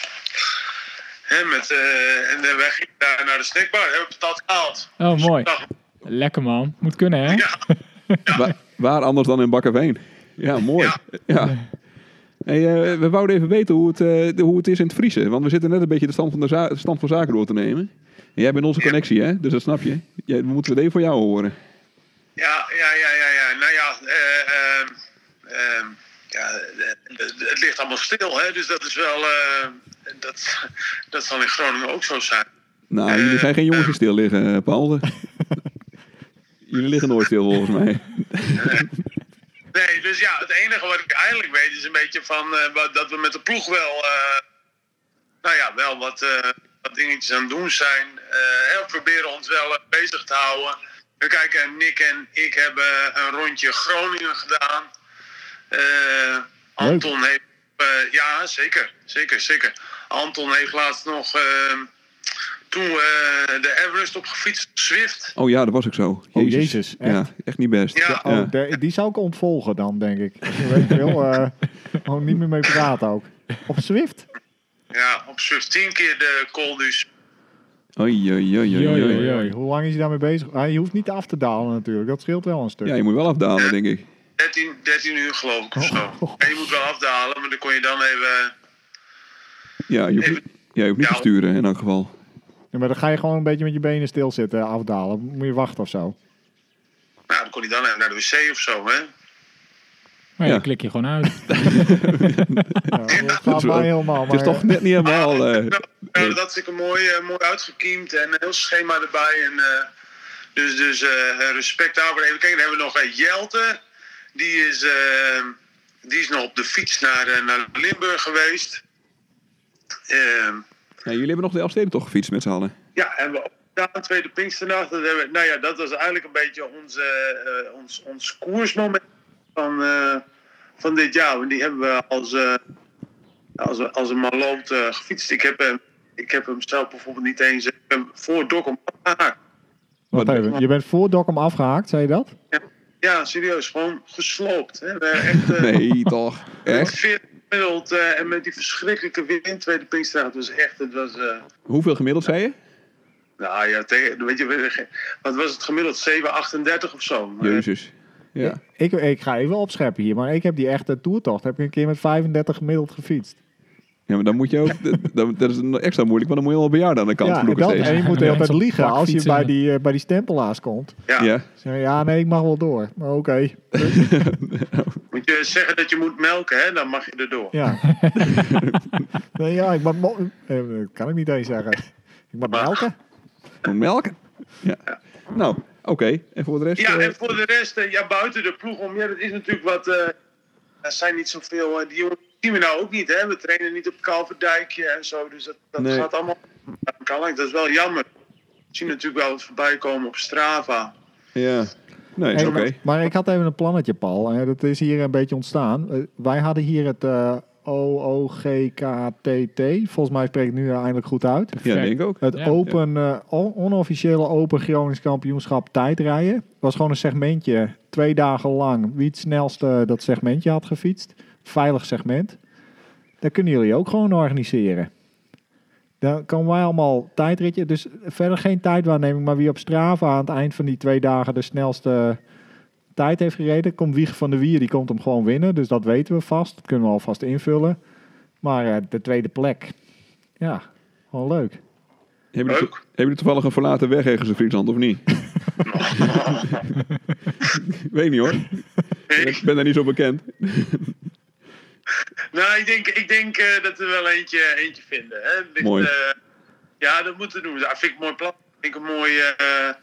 Speaker 4: Hè, met, eh, en eh, wij gingen daar naar de snackbar. Hebben we betaald gehaald.
Speaker 3: Oh, mooi.
Speaker 4: Nou,
Speaker 3: Lekker man. Moet kunnen, hè?
Speaker 4: ja,
Speaker 2: Wa- waar anders dan in Bakkerveen? Ja, mooi. Ja. Hey, eh, we wouden even weten hoe het, eh, de- hoe het is in het Vriezen. Want we zitten net een beetje de stand van, de za- stand van zaken door te nemen. En jij bent onze connectie, hè? Dus dat snap je. Jij, we moeten het even voor jou horen.
Speaker 4: ja, ja, ja, ja, ja. Nou ja, eh, ehm, ehm, ja eh, het- het ligt allemaal stil. Hè? Dus dat is wel... eh, dat, dat zal in Groningen ook zo zijn.
Speaker 2: Nou, jullie zijn geen jongens die stil liggen, eh, Paul. jullie liggen nooit stil, volgens mij.
Speaker 4: Nee, dus ja, het enige wat ik eigenlijk weet is een beetje van eh, wat- dat we met de ploeg wel, eh, nou ja, wel wat, eh, wat dingetjes aan het doen zijn. Eh, en we proberen ons wel eh, bezig te houden. We kijken, Nick en ik hebben een rondje Groningen gedaan. Eh, Anton heeft, eh, ja, zeker, zeker, zeker. Anton heeft laatst nog eh, toen eh, de Everest opgefietst, Swift.
Speaker 2: Oh ja, dat was ik zo.
Speaker 1: Oh, Jezus,
Speaker 2: Ja,
Speaker 1: echt?
Speaker 2: echt niet best.
Speaker 4: Ja.
Speaker 1: Oh, de- die zou ik ontvolgen dan, denk ik. Weet ik veel, eh, gewoon niet meer mee praten ook. Op Swift?
Speaker 4: Ja, op Swift tien keer de Col du Sud.
Speaker 2: Oei, oei, oei, oei,
Speaker 3: Oei, oei,
Speaker 2: oei.
Speaker 3: oei.
Speaker 1: Hoe lang is hij daarmee bezig? Ah, je hoeft niet af te dalen natuurlijk, dat scheelt wel een stuk.
Speaker 2: Ja, je moet wel afdalen, denk ik.
Speaker 4: 13, 13 uur geloof ik of zo.
Speaker 1: Oh.
Speaker 4: En je moet wel afdalen, maar dan kon je dan even...
Speaker 2: Ja, je hoeft, niet- ja, je hoeft niet te sturen, in elk geval.
Speaker 1: Ja, maar dan ga je gewoon een beetje met je benen stilzitten, afdalen. Moet je wachten of zo.
Speaker 4: Nou, dan kon je dan even naar de wc of zo, hè.
Speaker 3: Maar ja,
Speaker 2: Ja.
Speaker 3: dan klik je gewoon uit.
Speaker 1: Ja, dat gaat
Speaker 2: is wel-
Speaker 1: mij helemaal.
Speaker 2: Het
Speaker 1: Maar,
Speaker 2: is toch net niet helemaal... eh,
Speaker 4: Nou,
Speaker 2: nee.
Speaker 4: dat had ik er mooi, eh, mooi uitgekiemd en een heel schema erbij. En, eh, dus dus eh, respect daarvoor. Even kijken, dan hebben we nog eh, Jelte. Die is, eh, die is nog op de fiets naar, eh, naar Limburg geweest. Ehm,
Speaker 2: Ja, jullie hebben nog de Elfsteden toch gefietst met z'n allen?
Speaker 4: Ja, en we de tweede Pinksternacht. Dat hebben, we- nou ja, dat was eigenlijk een beetje ons, eh, eh, ons, ons koersmoment van, eh, van dit jaar. Want die hebben we als, eh, als, we- als een man loopt eh, gefietst. Ik heb, hem, ik heb hem zelf bijvoorbeeld niet eens ik heb hem voor Dokkum afgehaakt.
Speaker 1: Wacht even, je bent voor Dokkum afgehaakt, zei je dat?
Speaker 4: Ja, serieus, gewoon gesloopt. Hè. We hebben echt, eh,
Speaker 2: Nee, toch? Echt?
Speaker 4: 40 gemiddeld eh, en met die verschrikkelijke wind, tweede Pinksternacht. Het was echt, het was... eh,
Speaker 2: Hoeveel gemiddeld zei je?
Speaker 4: nou ja, tegen, weet je, we- we- wat was het gemiddeld? 7,38 of zo. Eh,
Speaker 2: Jezus. Ja.
Speaker 1: Ik, ik ga even opscheppen hier, maar ik heb die echte toertocht heb ik een keer met 35 gemiddeld gefietst.
Speaker 2: ja, maar dan moet je ook... dat- Dat, dat is extra moeilijk, want dan moet je al bejaarden aan de kant
Speaker 1: ja, en,
Speaker 2: vloeken
Speaker 1: dat,
Speaker 2: steeds.
Speaker 1: en je moet de
Speaker 3: Ja,
Speaker 1: hele tijd
Speaker 3: zo'n
Speaker 1: liegen als je
Speaker 3: plakfietsen.
Speaker 1: bij die, eh, bij die stempelaars komt.
Speaker 4: ja.
Speaker 2: Ja.
Speaker 1: Zeg je, ja, nee, ik mag wel door. Maar Oké,
Speaker 4: Moet je zeggen dat je moet melken, hè? Dan mag je erdoor.
Speaker 1: ja. nee, ja, ik mag... mo- eh, dat kan ik niet eens zeggen. Ik mag melken.
Speaker 2: Moet melken. Ja. Nou, oké. En voor de rest?
Speaker 4: Ja,
Speaker 2: eh,
Speaker 4: en voor de rest, eh, ja, buiten de ploeg om. Ja, dat is natuurlijk wat. eh, er zijn niet zoveel. eh, die jongens zien we nou ook niet, hè? We trainen niet op Kalverdijkje en zo. Dus dat, dat
Speaker 2: Nee.
Speaker 4: gaat allemaal. Dat is wel jammer. We zien natuurlijk wel wat voorbij komen op Strava.
Speaker 2: Ja. Nee, is
Speaker 1: Hey,
Speaker 2: oké.
Speaker 1: maar, maar ik had even een plannetje, Paul. Eh, dat is hier een beetje ontstaan. Eh, wij hadden hier het eh OOGKTT. Volgens mij spreek ik nu eh, eindelijk goed uit.
Speaker 2: Ja, denk ik ook.
Speaker 1: Het
Speaker 3: Ja.
Speaker 1: open, eh, on- onofficiële Open Gronings kampioenschap tijdrijden. Was gewoon een segmentje. Twee dagen lang. Wie het snelste dat segmentje had gefietst. Veilig segment. Dat kunnen jullie ook gewoon organiseren. Dan komen wij allemaal tijdritje. Dus verder geen tijdwaarneming. Maar wie op Strava aan het eind van die twee dagen de snelste tijd heeft gereden. Komt Wieg van de Wier. Die komt hem gewoon winnen. Dus dat weten we vast. Dat kunnen we alvast invullen. Maar eh, de tweede plek. Ja, gewoon leuk.
Speaker 2: Hebben jullie,
Speaker 4: Leuk.
Speaker 2: hebben jullie toevallig een verlaten weg ergens in Friesland, of niet? Weet niet hoor. Ik ben daar niet zo bekend.
Speaker 4: Nou, ik denk, ik denk eh, dat we wel eentje, eentje vinden. Hè? Ligt,
Speaker 2: Mooi.
Speaker 4: eh, ja, dat moeten we doen. Dat vind ik een mooi plan. Ik vind ik een mooi. eh,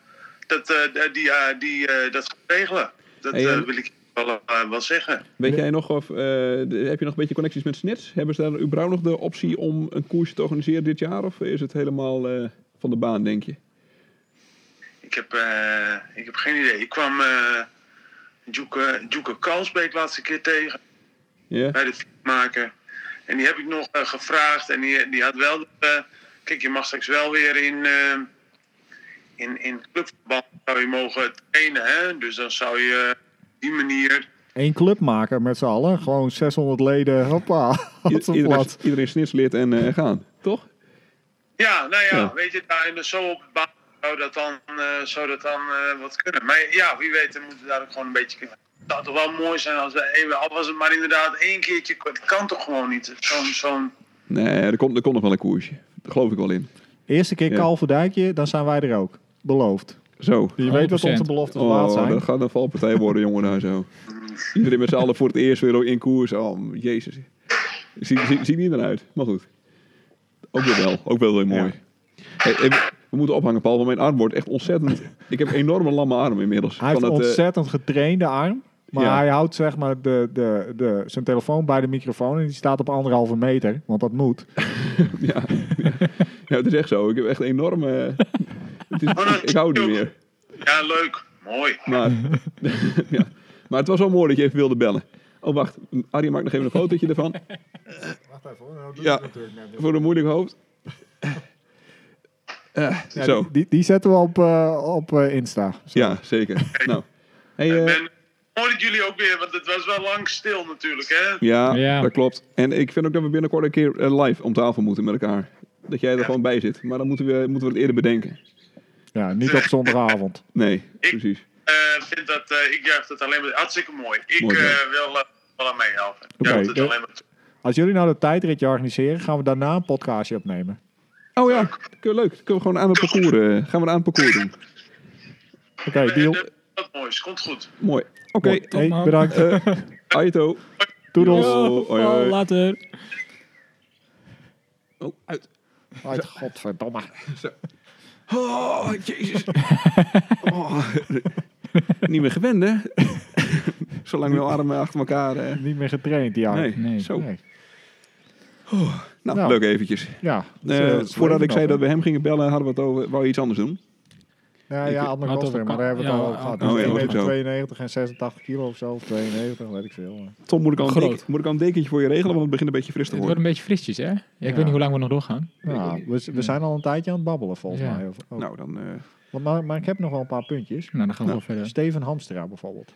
Speaker 4: dat, eh, die, eh, die, eh, dat gaat regelen. Dat
Speaker 2: Hey, en-
Speaker 4: eh, wil ik wel, eh, wel zeggen.
Speaker 2: Weet jij nog of... eh, de- heb je nog een beetje connecties met Snits? Hebben ze daar überhaupt nog de optie om een koersje te organiseren dit jaar? Of is het helemaal eh, van de baan, denk je?
Speaker 4: Ik heb, eh, ik heb geen idee. Ik kwam eh Joeke, Joeke Kalsbeek laatste keer tegen
Speaker 2: Ja?
Speaker 4: bij de fietsmaker. En die heb ik nog eh, gevraagd. En die, die had wel. eh, kijk, je mag straks wel weer in, eh, in, in clubverband zou je mogen trainen. Hè? Dus dan zou je op die manier
Speaker 1: één club maken met z'n allen. Gewoon 600 leden. Hoppa.
Speaker 2: I-
Speaker 1: Wat een
Speaker 2: iedereen,
Speaker 1: plat.
Speaker 2: iedereen snitslid en eh, gaan. Toch?
Speaker 4: Ja, nou ja,
Speaker 2: Ja.
Speaker 4: weet je, daar in de zo op de baan zou dat dan, eh, zou dat dan eh, wat kunnen. Maar ja, wie weet, dan moeten we daar ook gewoon een beetje kunnen. Het zou toch wel mooi zijn als we even, al was het maar inderdaad één keertje, het kan toch gewoon niet. Zo'n, zo'n,
Speaker 2: Nee, er komt, er komt nog wel een koersje. Daar geloof ik wel in.
Speaker 1: Eerste keer
Speaker 2: Ja.
Speaker 1: Kalverdijkje, dan zijn wij er ook. Beloofd.
Speaker 2: Zo.
Speaker 1: Je weet wat
Speaker 3: 100%.
Speaker 1: onze beloftes waard
Speaker 2: Oh,
Speaker 1: zijn.
Speaker 2: dat gaat een valpartij worden, jongen, daar zo. Iedereen met z'n allen voor het eerst weer in koers. Oh, jezus. Ziet zie, zie niet eruit. Maar goed. Ook weer wel. Ook wel weer mooi. Hey, hey, we- we moeten ophangen, Paul, want mijn arm wordt echt ontzettend... Ik heb een enorme lamme arm inmiddels.
Speaker 1: Hij heeft
Speaker 2: Van het, eh,
Speaker 1: ontzettend getrainde arm. Maar
Speaker 2: ja.
Speaker 1: hij houdt zeg maar de, de, de, zijn telefoon bij de microfoon en die staat op anderhalve meter, want dat moet.
Speaker 2: ja, ja, het is echt zo. Ik heb echt een enorme... eh, Het is, ik, ik hou het niet meer.
Speaker 4: ja, leuk, mooi.
Speaker 2: Maar, ja. maar het was wel mooi dat je even wilde bellen. Oh, wacht. Arjen maakt nog even een fotootje ervan.
Speaker 1: Wacht even, Nou,
Speaker 2: doe Ja. ik natuurlijk Voor een moeilijk hoofd. Eh, zo.
Speaker 1: Die, die zetten we op, eh, op eh, Insta.
Speaker 2: Ja, zeker. Nou. Hey, eh,
Speaker 4: En mooi dat jullie ook weer, want het was wel lang stil natuurlijk, hè?
Speaker 2: ja,
Speaker 3: Ja.
Speaker 2: dat klopt. En ik vind ook dat we binnenkort een keer eh, live om tafel moeten met elkaar. Dat jij er gewoon bij zit. Maar dan moeten we, moeten we het eerder bedenken.
Speaker 1: Ja, niet op zondagavond.
Speaker 2: Nee,
Speaker 4: Ik-
Speaker 2: precies.
Speaker 4: Eh, vind dat, eh, ik juich dat alleen maar hartstikke mooi. Ik
Speaker 2: Mooi, ja.
Speaker 4: eh, wil eh, wel aan meehelpen. Ik
Speaker 1: Oké,
Speaker 4: juich het
Speaker 1: eh,
Speaker 4: alleen maar toe.
Speaker 1: Als jullie nou de tijdritje organiseren, gaan we daarna een podcastje opnemen.
Speaker 2: Oh ja, kun- leuk. Kunnen we gewoon aan het parcours, eh, gaan we aan het parcours doen.
Speaker 1: Oké,
Speaker 4: Eh,
Speaker 1: deal.
Speaker 4: eh, Wat moois, komt goed.
Speaker 2: Mooi. Oké.
Speaker 1: Mooi. Hey,
Speaker 3: man.
Speaker 1: bedankt.
Speaker 2: eh, Aito.
Speaker 1: Toedels.
Speaker 2: Yo, hoi, hoi.
Speaker 3: later.
Speaker 2: Oh, uit.
Speaker 1: Uit, godverdomme.
Speaker 2: Oh, jezus. Oh, niet meer gewend, hè? Zolang we armen achter elkaar... eh,
Speaker 1: Niet meer getraind, ja.
Speaker 2: nee.
Speaker 3: Nee.
Speaker 2: zo.
Speaker 1: Nee.
Speaker 2: Nou,
Speaker 1: Nou.
Speaker 2: leuk eventjes.
Speaker 1: Ja. dus,
Speaker 2: Eh,
Speaker 1: Ze- ze
Speaker 2: voordat
Speaker 1: leven
Speaker 2: ik zei
Speaker 1: nog,
Speaker 2: dat we hem gingen bellen, hadden we het over... Wou je iets anders doen?
Speaker 1: Nou ja, Adme
Speaker 3: Had
Speaker 1: Koster,
Speaker 3: ook-
Speaker 1: maar daar hebben we het
Speaker 3: ja,
Speaker 1: al over gehad.
Speaker 3: oh,
Speaker 1: Dus
Speaker 2: ja,
Speaker 1: die
Speaker 2: goed
Speaker 1: weegt
Speaker 2: zo.
Speaker 1: 92 en 86 kilo of zo, of 92, weet ik veel.
Speaker 2: Tom, moet ik, al een
Speaker 3: Groot.
Speaker 2: dek- moet ik al een dekentje voor je regelen, want het begint een beetje fris te
Speaker 3: Het wordt
Speaker 2: worden.
Speaker 3: een beetje frisjes, hè? Ja, ik weet
Speaker 1: Ja.
Speaker 3: niet hoe lang we nog doorgaan.
Speaker 1: Nou, we, we zijn al een tijdje aan het babbelen, volgens
Speaker 3: Ja.
Speaker 1: mij. Of- of-
Speaker 2: Nou, dan... eh,
Speaker 1: Want, maar, maar ik heb nog wel een paar puntjes.
Speaker 3: Nou, dan gaan we wel verder.
Speaker 1: Steven Hamstra bijvoorbeeld.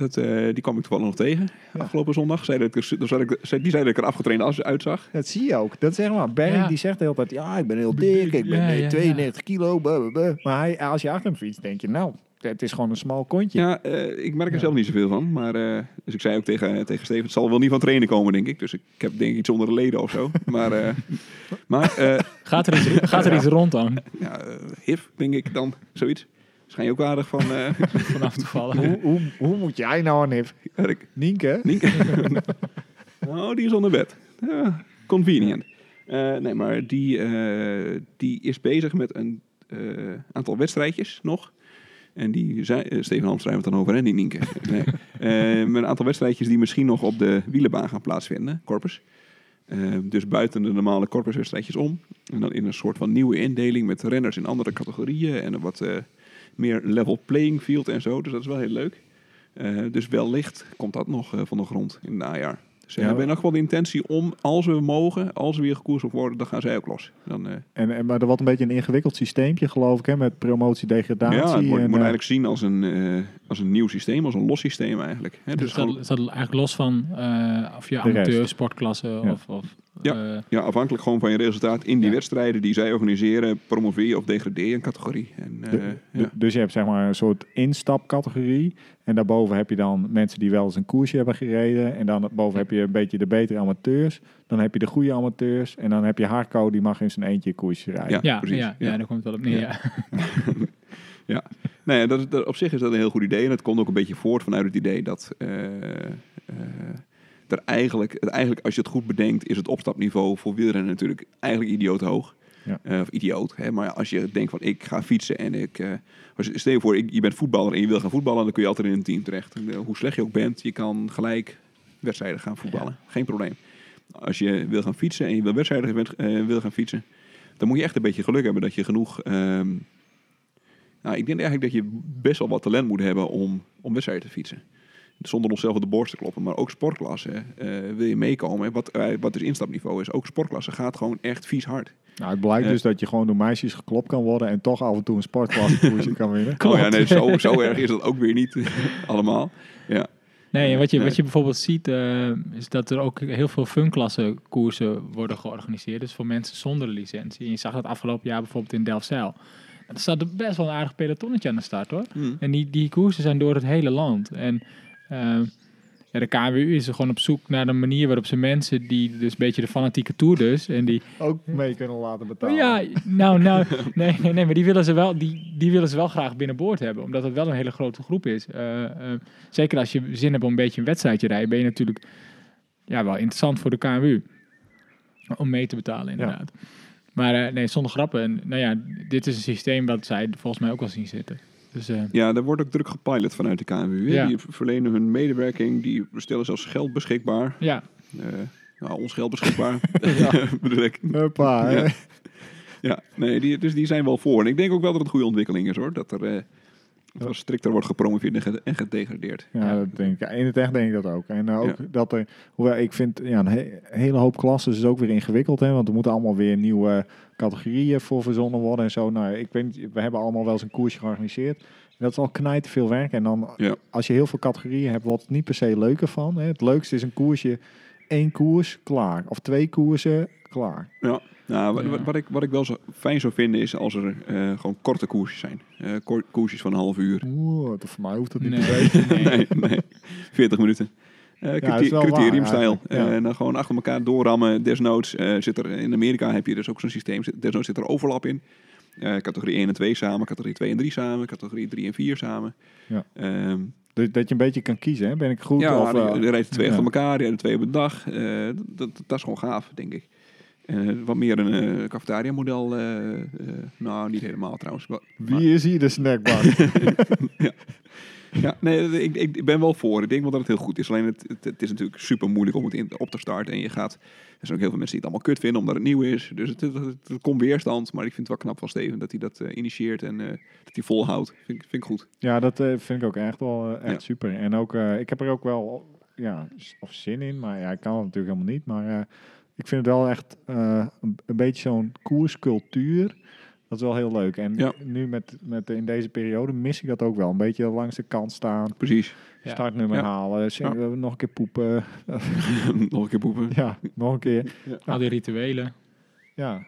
Speaker 2: dat, eh, die kwam ik toevallig nog tegen
Speaker 1: Ja.
Speaker 2: afgelopen zondag. Zei dat ik er, dan zei ik, zei, die zei dat ik er afgetraind als, uitzag.
Speaker 1: Dat zie je ook. Dat zeg maar. Berg
Speaker 3: Ja.
Speaker 1: die zegt de hele tijd, ja, ik ben heel dik, ik ben
Speaker 3: Ja,
Speaker 1: eh,
Speaker 3: ja, ja.
Speaker 1: 92 kilo. bah, bah, bah. Maar hij, als je achter hem fietst, denk je, nou, het is gewoon een smal kontje.
Speaker 2: Ja, eh, ik merk er zelf niet zoveel van. Maar, eh, dus ik zei ook tegen, tegen Steven, het zal wel niet van trainen komen, denk ik. Dus ik heb denk ik iets onder de leden of zo. maar eh, maar eh,
Speaker 3: Gaat er iets, gaat er iets rond dan?
Speaker 2: ja, eh, hip, denk ik dan. Zoiets. Schijn je ook aardig van... eh,
Speaker 3: Vanaf toevallig.
Speaker 1: Hoe, hoe, hoe moet jij nou aan hip?
Speaker 2: Erik.
Speaker 1: Nienke?
Speaker 2: Oh, die is onder bed. Ja, convenient. Eh, nee, maar die, eh, die is bezig met een eh, aantal wedstrijdjes nog. En die zei, eh, Steven Hamstra heeft het dan over, en die Nienke. Nee. Eh, met een aantal wedstrijdjes die misschien nog op de wielenbaan gaan plaatsvinden, Corpus. Eh, dus buiten de normale Corpus-wedstrijdjes om. En dan in een soort van nieuwe indeling met renners in andere categorieën. En een wat eh, meer level playing field en zo. Dus dat is wel heel leuk. Eh, dus wellicht komt dat nog eh, van de grond in het najaar. Ze
Speaker 1: Ja.
Speaker 2: hebben in elk geval de intentie om, als we mogen, als er weer gekoers op worden, dan gaan zij ook los. Dan, eh,
Speaker 1: En, en, maar er wordt een beetje een ingewikkeld systeempje, geloof ik, hè, met promotie, degradatie.
Speaker 2: ja, het
Speaker 1: en,
Speaker 2: wordt,
Speaker 1: eh,
Speaker 2: wordt eigenlijk zien als een, eh, als een nieuw systeem, als een los systeem eigenlijk. Hè,
Speaker 3: Dus
Speaker 2: dus gewoon,
Speaker 3: dat staat eigenlijk los van eh, of je
Speaker 1: rest.
Speaker 3: amateur, sportklasse of... of
Speaker 2: Ja.
Speaker 3: eh,
Speaker 2: ja, afhankelijk gewoon van je resultaat in die
Speaker 3: Ja.
Speaker 2: wedstrijden die zij organiseren, promoveer je of degradeer je een categorie. En, eh,
Speaker 1: de-
Speaker 2: ja.
Speaker 1: de- Dus je hebt zeg maar een soort instapcategorie. En daarboven heb je dan mensen die wel eens een koersje hebben gereden. En dan boven heb je een beetje de betere amateurs. Dan heb je de goede amateurs. En dan heb je Harco, die mag in zijn eentje een koersje rijden.
Speaker 2: Ja,
Speaker 3: ja,
Speaker 2: precies,
Speaker 3: ja, ja,
Speaker 2: ja.
Speaker 3: daar komt het wel op neer.
Speaker 2: Ja.
Speaker 3: Ja.
Speaker 2: Ja, nou ja, dat, is- dat- op zich is dat een heel goed idee. En het komt ook een beetje voort vanuit het idee dat eh, eh, er eigenlijk, het eigenlijk, als je het goed bedenkt, is het opstapniveau voor wielrennen natuurlijk eigenlijk idioot hoog.
Speaker 1: Ja.
Speaker 2: Eh, of idioot. Hè? Maar ja, als je denkt van ik ga fietsen en ik. eh, als je, stel je voor, ik, je bent voetballer en je wil gaan voetballen, dan kun je altijd in een team terecht. En, eh, hoe slecht je ook bent, je kan gelijk wedstrijden gaan voetballen. Geen probleem. Als je wil gaan fietsen en je wil wedstrijden bent- eh, wil gaan fietsen, dan moet je echt een beetje geluk hebben dat je genoeg. ehm, nou, ik denk eigenlijk dat je best wel wat talent moet hebben om, om wedstrijden te fietsen. Zonder onszelf op de borst te kloppen. Maar ook sportklassen eh, wil je meekomen. En Wat, eh, wat dus instapniveau is. Ook sportklassen gaat gewoon echt vies hard.
Speaker 1: Nou, het blijkt
Speaker 2: Ja.
Speaker 1: dus dat je gewoon door meisjes geklopt kan worden. En toch af en toe een sportklasse koersje kan winnen.
Speaker 2: Oh ja, nee, zo, zo erg is dat ook weer niet allemaal. Ja.
Speaker 3: Nee, en wat je,
Speaker 2: Nee.
Speaker 3: wat je bijvoorbeeld ziet, eh, is dat er ook heel veel funklassen koersen worden georganiseerd. Dus voor mensen zonder licentie. En je zag dat afgelopen jaar bijvoorbeeld in Delfzijl. Er staat er best wel een aardig pelotonnetje aan de start hoor.
Speaker 2: Hmm.
Speaker 3: En die, die koersen zijn door het hele land. En eh, ja, de KWU is er gewoon op zoek naar een manier waarop ze mensen die dus een beetje de fanatieke tour dus. En die
Speaker 1: Ook mee kunnen laten betalen.
Speaker 3: ja, nou, nou, nee, nee, nee, maar die willen ze wel, die, die willen ze wel graag binnenboord hebben, omdat het wel een hele grote groep is. Eh, eh, zeker als je zin hebt om een beetje een wedstrijdje te rijden, ben je natuurlijk ja, wel interessant voor de KMU om mee te betalen, inderdaad. Maar eh, nee, zonder grappen. En, nou ja, dit is een systeem dat zij volgens mij ook wel zien zitten. Dus eh,
Speaker 2: Ja, daar wordt ook druk gepilot vanuit de KNWU. hè.
Speaker 3: Ja.
Speaker 2: Die verlenen hun medewerking, die stellen zelfs geld beschikbaar.
Speaker 3: ja,
Speaker 2: Eh, nou, ons geld beschikbaar, ja. bedoel ik.
Speaker 1: Huppa, hè?
Speaker 2: Ja. Ja, nee, die, dus die zijn wel voor. En ik denk ook wel dat het een goede ontwikkeling is hoor. Dat er, eh, dat er strikter wordt gepromoveerd en, ge- en gedegradeerd.
Speaker 1: Ja,
Speaker 3: Ja.
Speaker 1: dat denk ik. In het echt denk ik dat ook. En eh, ook
Speaker 2: Ja.
Speaker 1: dat er, hoewel ik vind, ja, een he- hele hoop klassen is dus ook weer ingewikkeld, hè, want er moeten allemaal weer nieuwe categorieën voor verzonnen worden en zo. Nou, ik weet, niet, we hebben allemaal wel eens een koersje georganiseerd. En dat is al knijt veel werk. En dan,
Speaker 2: Ja.
Speaker 1: als je heel veel categorieën hebt, wordt het niet per se leuker van. Hè. Het leukste is een koersje, één koers, klaar. Of twee koersen, klaar.
Speaker 2: Ja. Nou, wa- wa-
Speaker 3: Ja.
Speaker 2: Wat, ik, wat ik wel zo fijn zou vinden is als er eh, gewoon korte koersjes zijn. Eh, ko- koersjes van een half uur.
Speaker 1: Oeh, dat voor mij hoeft dat niet
Speaker 3: nee,
Speaker 1: per se.
Speaker 3: nee.
Speaker 2: Nee, nee. 40 minuten. Eh
Speaker 1: is wel waar,
Speaker 2: criteriumstijl.
Speaker 1: eigenlijk. Ja.
Speaker 2: Eh, en dan gewoon achter elkaar doorrammen. Desnoods eh, zit er in Amerika heb je dus ook zo'n systeem. Zit- Desnoods zit er overlap in. Eh, categorie 1 en 2 samen, categorie 2 en 3 samen, categorie 3 en 4 samen.
Speaker 1: Ja.
Speaker 2: Ehm,
Speaker 1: Dus dat je een beetje kan kiezen, hè. Ben ik goed
Speaker 2: ja,
Speaker 1: of...
Speaker 2: die-
Speaker 1: eh,
Speaker 2: die rijden twee
Speaker 1: ja.
Speaker 2: achter elkaar, die rijden twee op een dag. Eh, dat, dat, dat is gewoon gaaf, denk ik. Eh, wat meer een eh, cafetaria-model. eh, eh, nou, niet helemaal trouwens. Wel- maar-
Speaker 1: wie is hier de snackbar?
Speaker 2: ja, nee, ik, ik ik ben wel voor. Ik denk wel dat het heel goed is. Alleen het, het, het is natuurlijk super moeilijk om het in, op te starten. En je gaat. Er zijn ook heel veel mensen die het allemaal kut vinden omdat het nieuw is. Dus het, het, het- het komt weerstand. Maar ik vind het wel knap van Steven dat hij dat eh, initieert en eh, dat hij volhoudt. Vind, ik- vind ik goed.
Speaker 1: Ja, dat eh, vind ik ook echt wel eh, echt
Speaker 2: Ja.
Speaker 1: super. En ook, eh, ik heb er ook wel ja, s- of zin in, maar ja, ik kan het natuurlijk helemaal niet. Maar eh, ik vind het wel echt eh, een, een beetje zo'n koerscultuur. Dat is wel heel leuk. En
Speaker 2: Ja.
Speaker 1: nu met, met in deze periode mis ik dat ook wel. Een beetje langs de kant staan,
Speaker 2: Precies.
Speaker 3: Ja.
Speaker 1: startnummer
Speaker 2: Ja.
Speaker 1: halen, zing- eh, nog een keer poepen.
Speaker 2: Nog een keer poepen.
Speaker 1: ja, nog een keer.
Speaker 3: al die rituelen.
Speaker 1: Ja,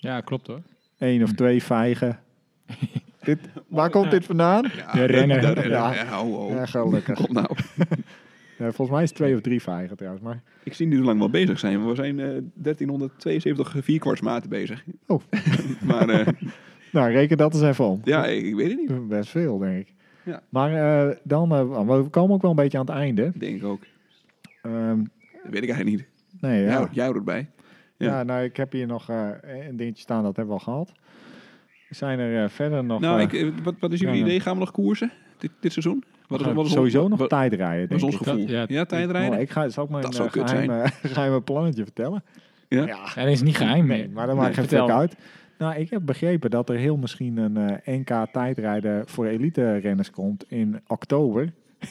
Speaker 3: Ja, klopt hoor.
Speaker 1: één of twee vijgen. dit, waar komt dit vandaan?
Speaker 2: Ja,
Speaker 3: De renner.
Speaker 2: de renner.
Speaker 1: Ja.
Speaker 2: Ja, hou, hou.
Speaker 1: Ja, gelukkig.
Speaker 2: Kom nou.
Speaker 1: Ja, volgens mij is het twee of drie vijgen trouwens. Maar
Speaker 2: Ik zie niet hoe lang we al bezig zijn. maar We zijn eh 1372 vierkwartsmaten bezig.
Speaker 1: Oh.
Speaker 2: maar eh,
Speaker 1: nou, reken dat eens even om.
Speaker 2: ja, ik, ik weet het niet.
Speaker 1: Best veel, denk ik.
Speaker 2: Ja.
Speaker 1: Maar eh, dan, eh, we komen ook wel een beetje aan het einde.
Speaker 2: Denk ik ook.
Speaker 1: Ehm,
Speaker 2: Dat weet ik eigenlijk niet.
Speaker 1: nee, ja.
Speaker 2: Jij,
Speaker 1: Ja,
Speaker 2: jij houdt erbij. ja.
Speaker 1: nou, ik heb hier nog eh, een dingetje staan, dat hebben we al gehad. Zijn er eh, verder nog...
Speaker 2: nou,
Speaker 1: eh,
Speaker 2: ik, eh, wat, wat is jullie
Speaker 1: ja, ja.
Speaker 2: idee? Gaan we nog koersen dit, dit seizoen? Wat
Speaker 1: gaan we
Speaker 2: ons-
Speaker 1: sowieso nog
Speaker 2: wat,
Speaker 1: tijdrijden,
Speaker 2: wat
Speaker 1: denk
Speaker 2: is ons
Speaker 1: ik.
Speaker 2: gevoel?
Speaker 3: Ja,
Speaker 2: Ja, tijdrijden?
Speaker 1: Oh, ik ga, zal ik mijn
Speaker 2: Dat
Speaker 1: eh,
Speaker 2: zou kut
Speaker 1: geheime, geheime plannetje vertellen?
Speaker 2: Ja?
Speaker 3: En dat is niet geheim
Speaker 1: Nee,
Speaker 3: meer.
Speaker 1: maar dat maakt
Speaker 2: Nee,
Speaker 1: geen fuck
Speaker 3: vertel.
Speaker 1: uit. Nou, ik heb begrepen dat er heel misschien een eh, NK tijdrijden voor elite renners komt in oktober.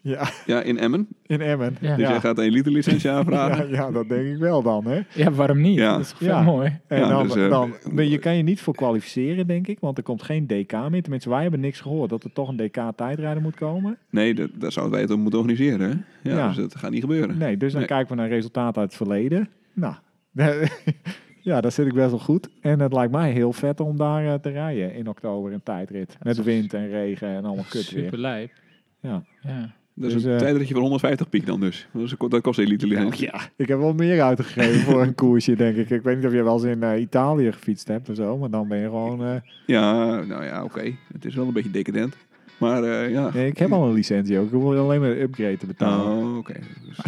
Speaker 1: ja,
Speaker 2: ja, in Emmen.
Speaker 1: in Emmen.
Speaker 3: Ja.
Speaker 2: Dus jij gaat een elite licentie aanvragen.
Speaker 1: ja, ja, dat denk ik wel dan, hè.
Speaker 3: Ja, waarom niet?
Speaker 2: Ja.
Speaker 3: Dat is toch veel
Speaker 1: Ja.
Speaker 3: mooi.
Speaker 1: En
Speaker 2: Ja,
Speaker 1: dan,
Speaker 2: dus, eh,
Speaker 1: dan, nee, je kan je niet voor kwalificeren, denk ik, want er komt geen DK meer. Tenminste, wij hebben niks gehoord dat er toch een DK-tijdrijder moet komen.
Speaker 2: Nee, dat, daar zouden wij het om moeten organiseren. Hè? Ja,
Speaker 1: Ja.
Speaker 2: Dus dat gaat niet gebeuren.
Speaker 1: Nee, dus dan
Speaker 2: Nee.
Speaker 1: kijken we naar resultaten uit het verleden. Nou, ja, daar zit ik best wel goed. En het lijkt mij heel vet om daar eh, te rijden in oktober, een tijdrit. Met wind en regen en allemaal kut weer.
Speaker 3: Super lijp.
Speaker 1: Ja.
Speaker 3: Ja.
Speaker 2: Dat is
Speaker 1: Dus,
Speaker 2: een
Speaker 1: eh,
Speaker 2: tijdritje van 150 piek dan dus. Dat, is, dat kost een elite licentie.
Speaker 1: Ja, ik heb wel meer uitgegeven voor een koersje, denk ik. Ik weet niet of je wel eens in eh, Italië gefietst hebt of zo, maar dan ben je gewoon... eh,
Speaker 2: Ja, nou ja, oké. Het is wel een beetje decadent. Maar eh, ja.
Speaker 1: nee, ik heb al een licentie ook. Ik wil alleen maar een upgrade te betalen.
Speaker 2: Oh, oké.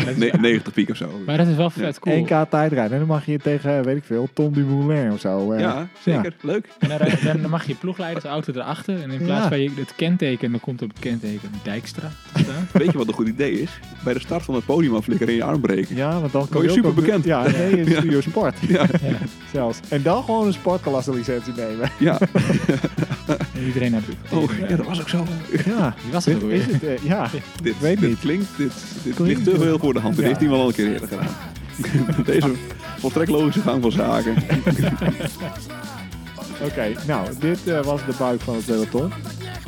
Speaker 2: Dus ne- 90 piek of zo.
Speaker 3: Maar dat is wel vet cool.
Speaker 1: 1K tijdrijden. En dan mag je tegen, weet ik veel, Tom Dumoulin of zo. eh.
Speaker 2: ja, zeker. Leuk.
Speaker 3: En dan, rij- dan mag je ploegleidersauto erachter. En in plaats
Speaker 1: Ja.
Speaker 3: van je, het kenteken, dan komt op het kenteken Dijkstra te staan.
Speaker 2: Weet je wat een goed idee is? Bij de start van het podium aflikkeren en je arm breken.
Speaker 1: Ja, want dan
Speaker 2: Word je
Speaker 1: ook op-
Speaker 2: superbekend.
Speaker 1: Ja, nee, in
Speaker 2: Ja.
Speaker 1: Studio Sport.
Speaker 2: Ja.
Speaker 3: Ja.
Speaker 1: Zelfs. En dan gewoon een sportklasse licentie nemen.
Speaker 2: Ja.
Speaker 3: En iedereen naar de
Speaker 2: Oh, ja, dat was ook zo.
Speaker 1: Ja,
Speaker 3: Die was
Speaker 1: dit
Speaker 3: het ook
Speaker 1: is
Speaker 3: weer.
Speaker 1: het. eh, ja,
Speaker 2: Dit,
Speaker 1: Weet
Speaker 2: dit
Speaker 1: niet.
Speaker 2: klinkt, dit, dit
Speaker 1: Klinkt
Speaker 2: ligt te veel voor de hand. Dit
Speaker 1: Ja.
Speaker 2: heeft iemand al een keer eerder gedaan. Deze volstrekt logische gang van zaken.
Speaker 1: oké. Nou, dit eh, was de buik van het peloton.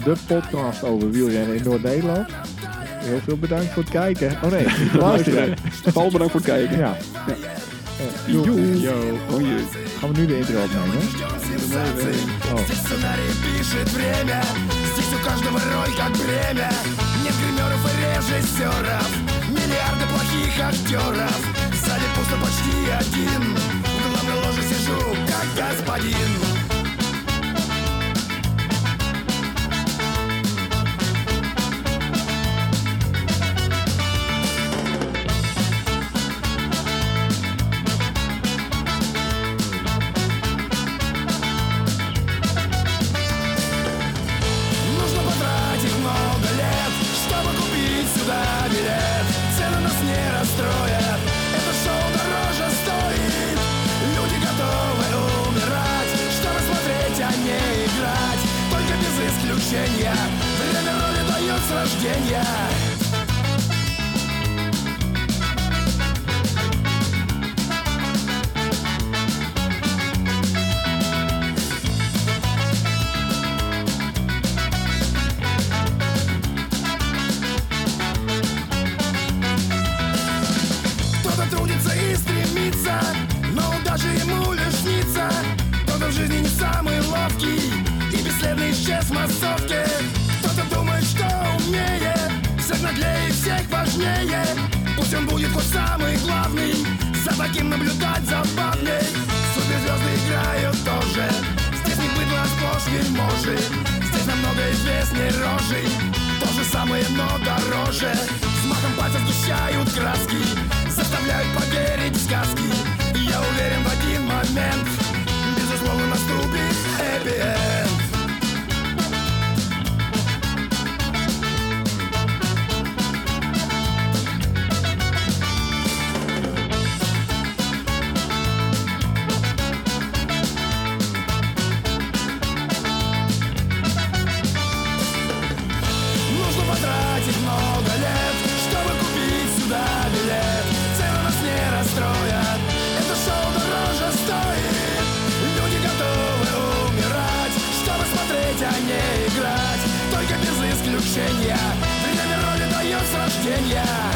Speaker 1: de podcast over wielrennen in Noord-Nederland. Heel veel bedankt voor het kijken. Oh nee, luisteren.
Speaker 2: Luisteren. Paul, bedankt voor het kijken.
Speaker 1: ja. Eh, doe-
Speaker 2: Yo. Oh, jee.
Speaker 1: Gaan we nu de intro opnemen? Oh.
Speaker 5: Здесь сценарий пишет время Здесь у каждого роль как бремя Нет гримеров и режиссеров Миллиарды плохих актеров Сзади пусто почти один В главной ложе сижу как господин Нужно потратить много лет, чтобы купить сюда билет. Цены нас не расстроят, это шоу дороже стоит. Люди готовы умирать, чтобы смотреть, а не играть. Только без исключения, время роли дает с рождения. Кто-то трудится и стремится, но удача ему лишь снится. Кто-то в жизни не самый ловкий и бесследно исчез в массовке. Кто-то думает, что умнее, всех наглее и всех важнее. Пусть он будет хоть самый главный, за таким наблюдать забавней. Суперзвезды играют тоже, здесь не быдло, а сплошь вельможи. Здесь намного известней рожей, то же самое, но дороже. С махом пальцев сгущают краски, заставляют поверить в сказки. И Я уверен в один момент, безусловно наступит happy end. Нужно потратить много лет, чтобы купить сюда билет. Цены нас не расстроят, это шоу дороже стоит. Люди готовы умирать, чтобы смотреть, а не играть. Только без исключения, время роли дает с рождения. а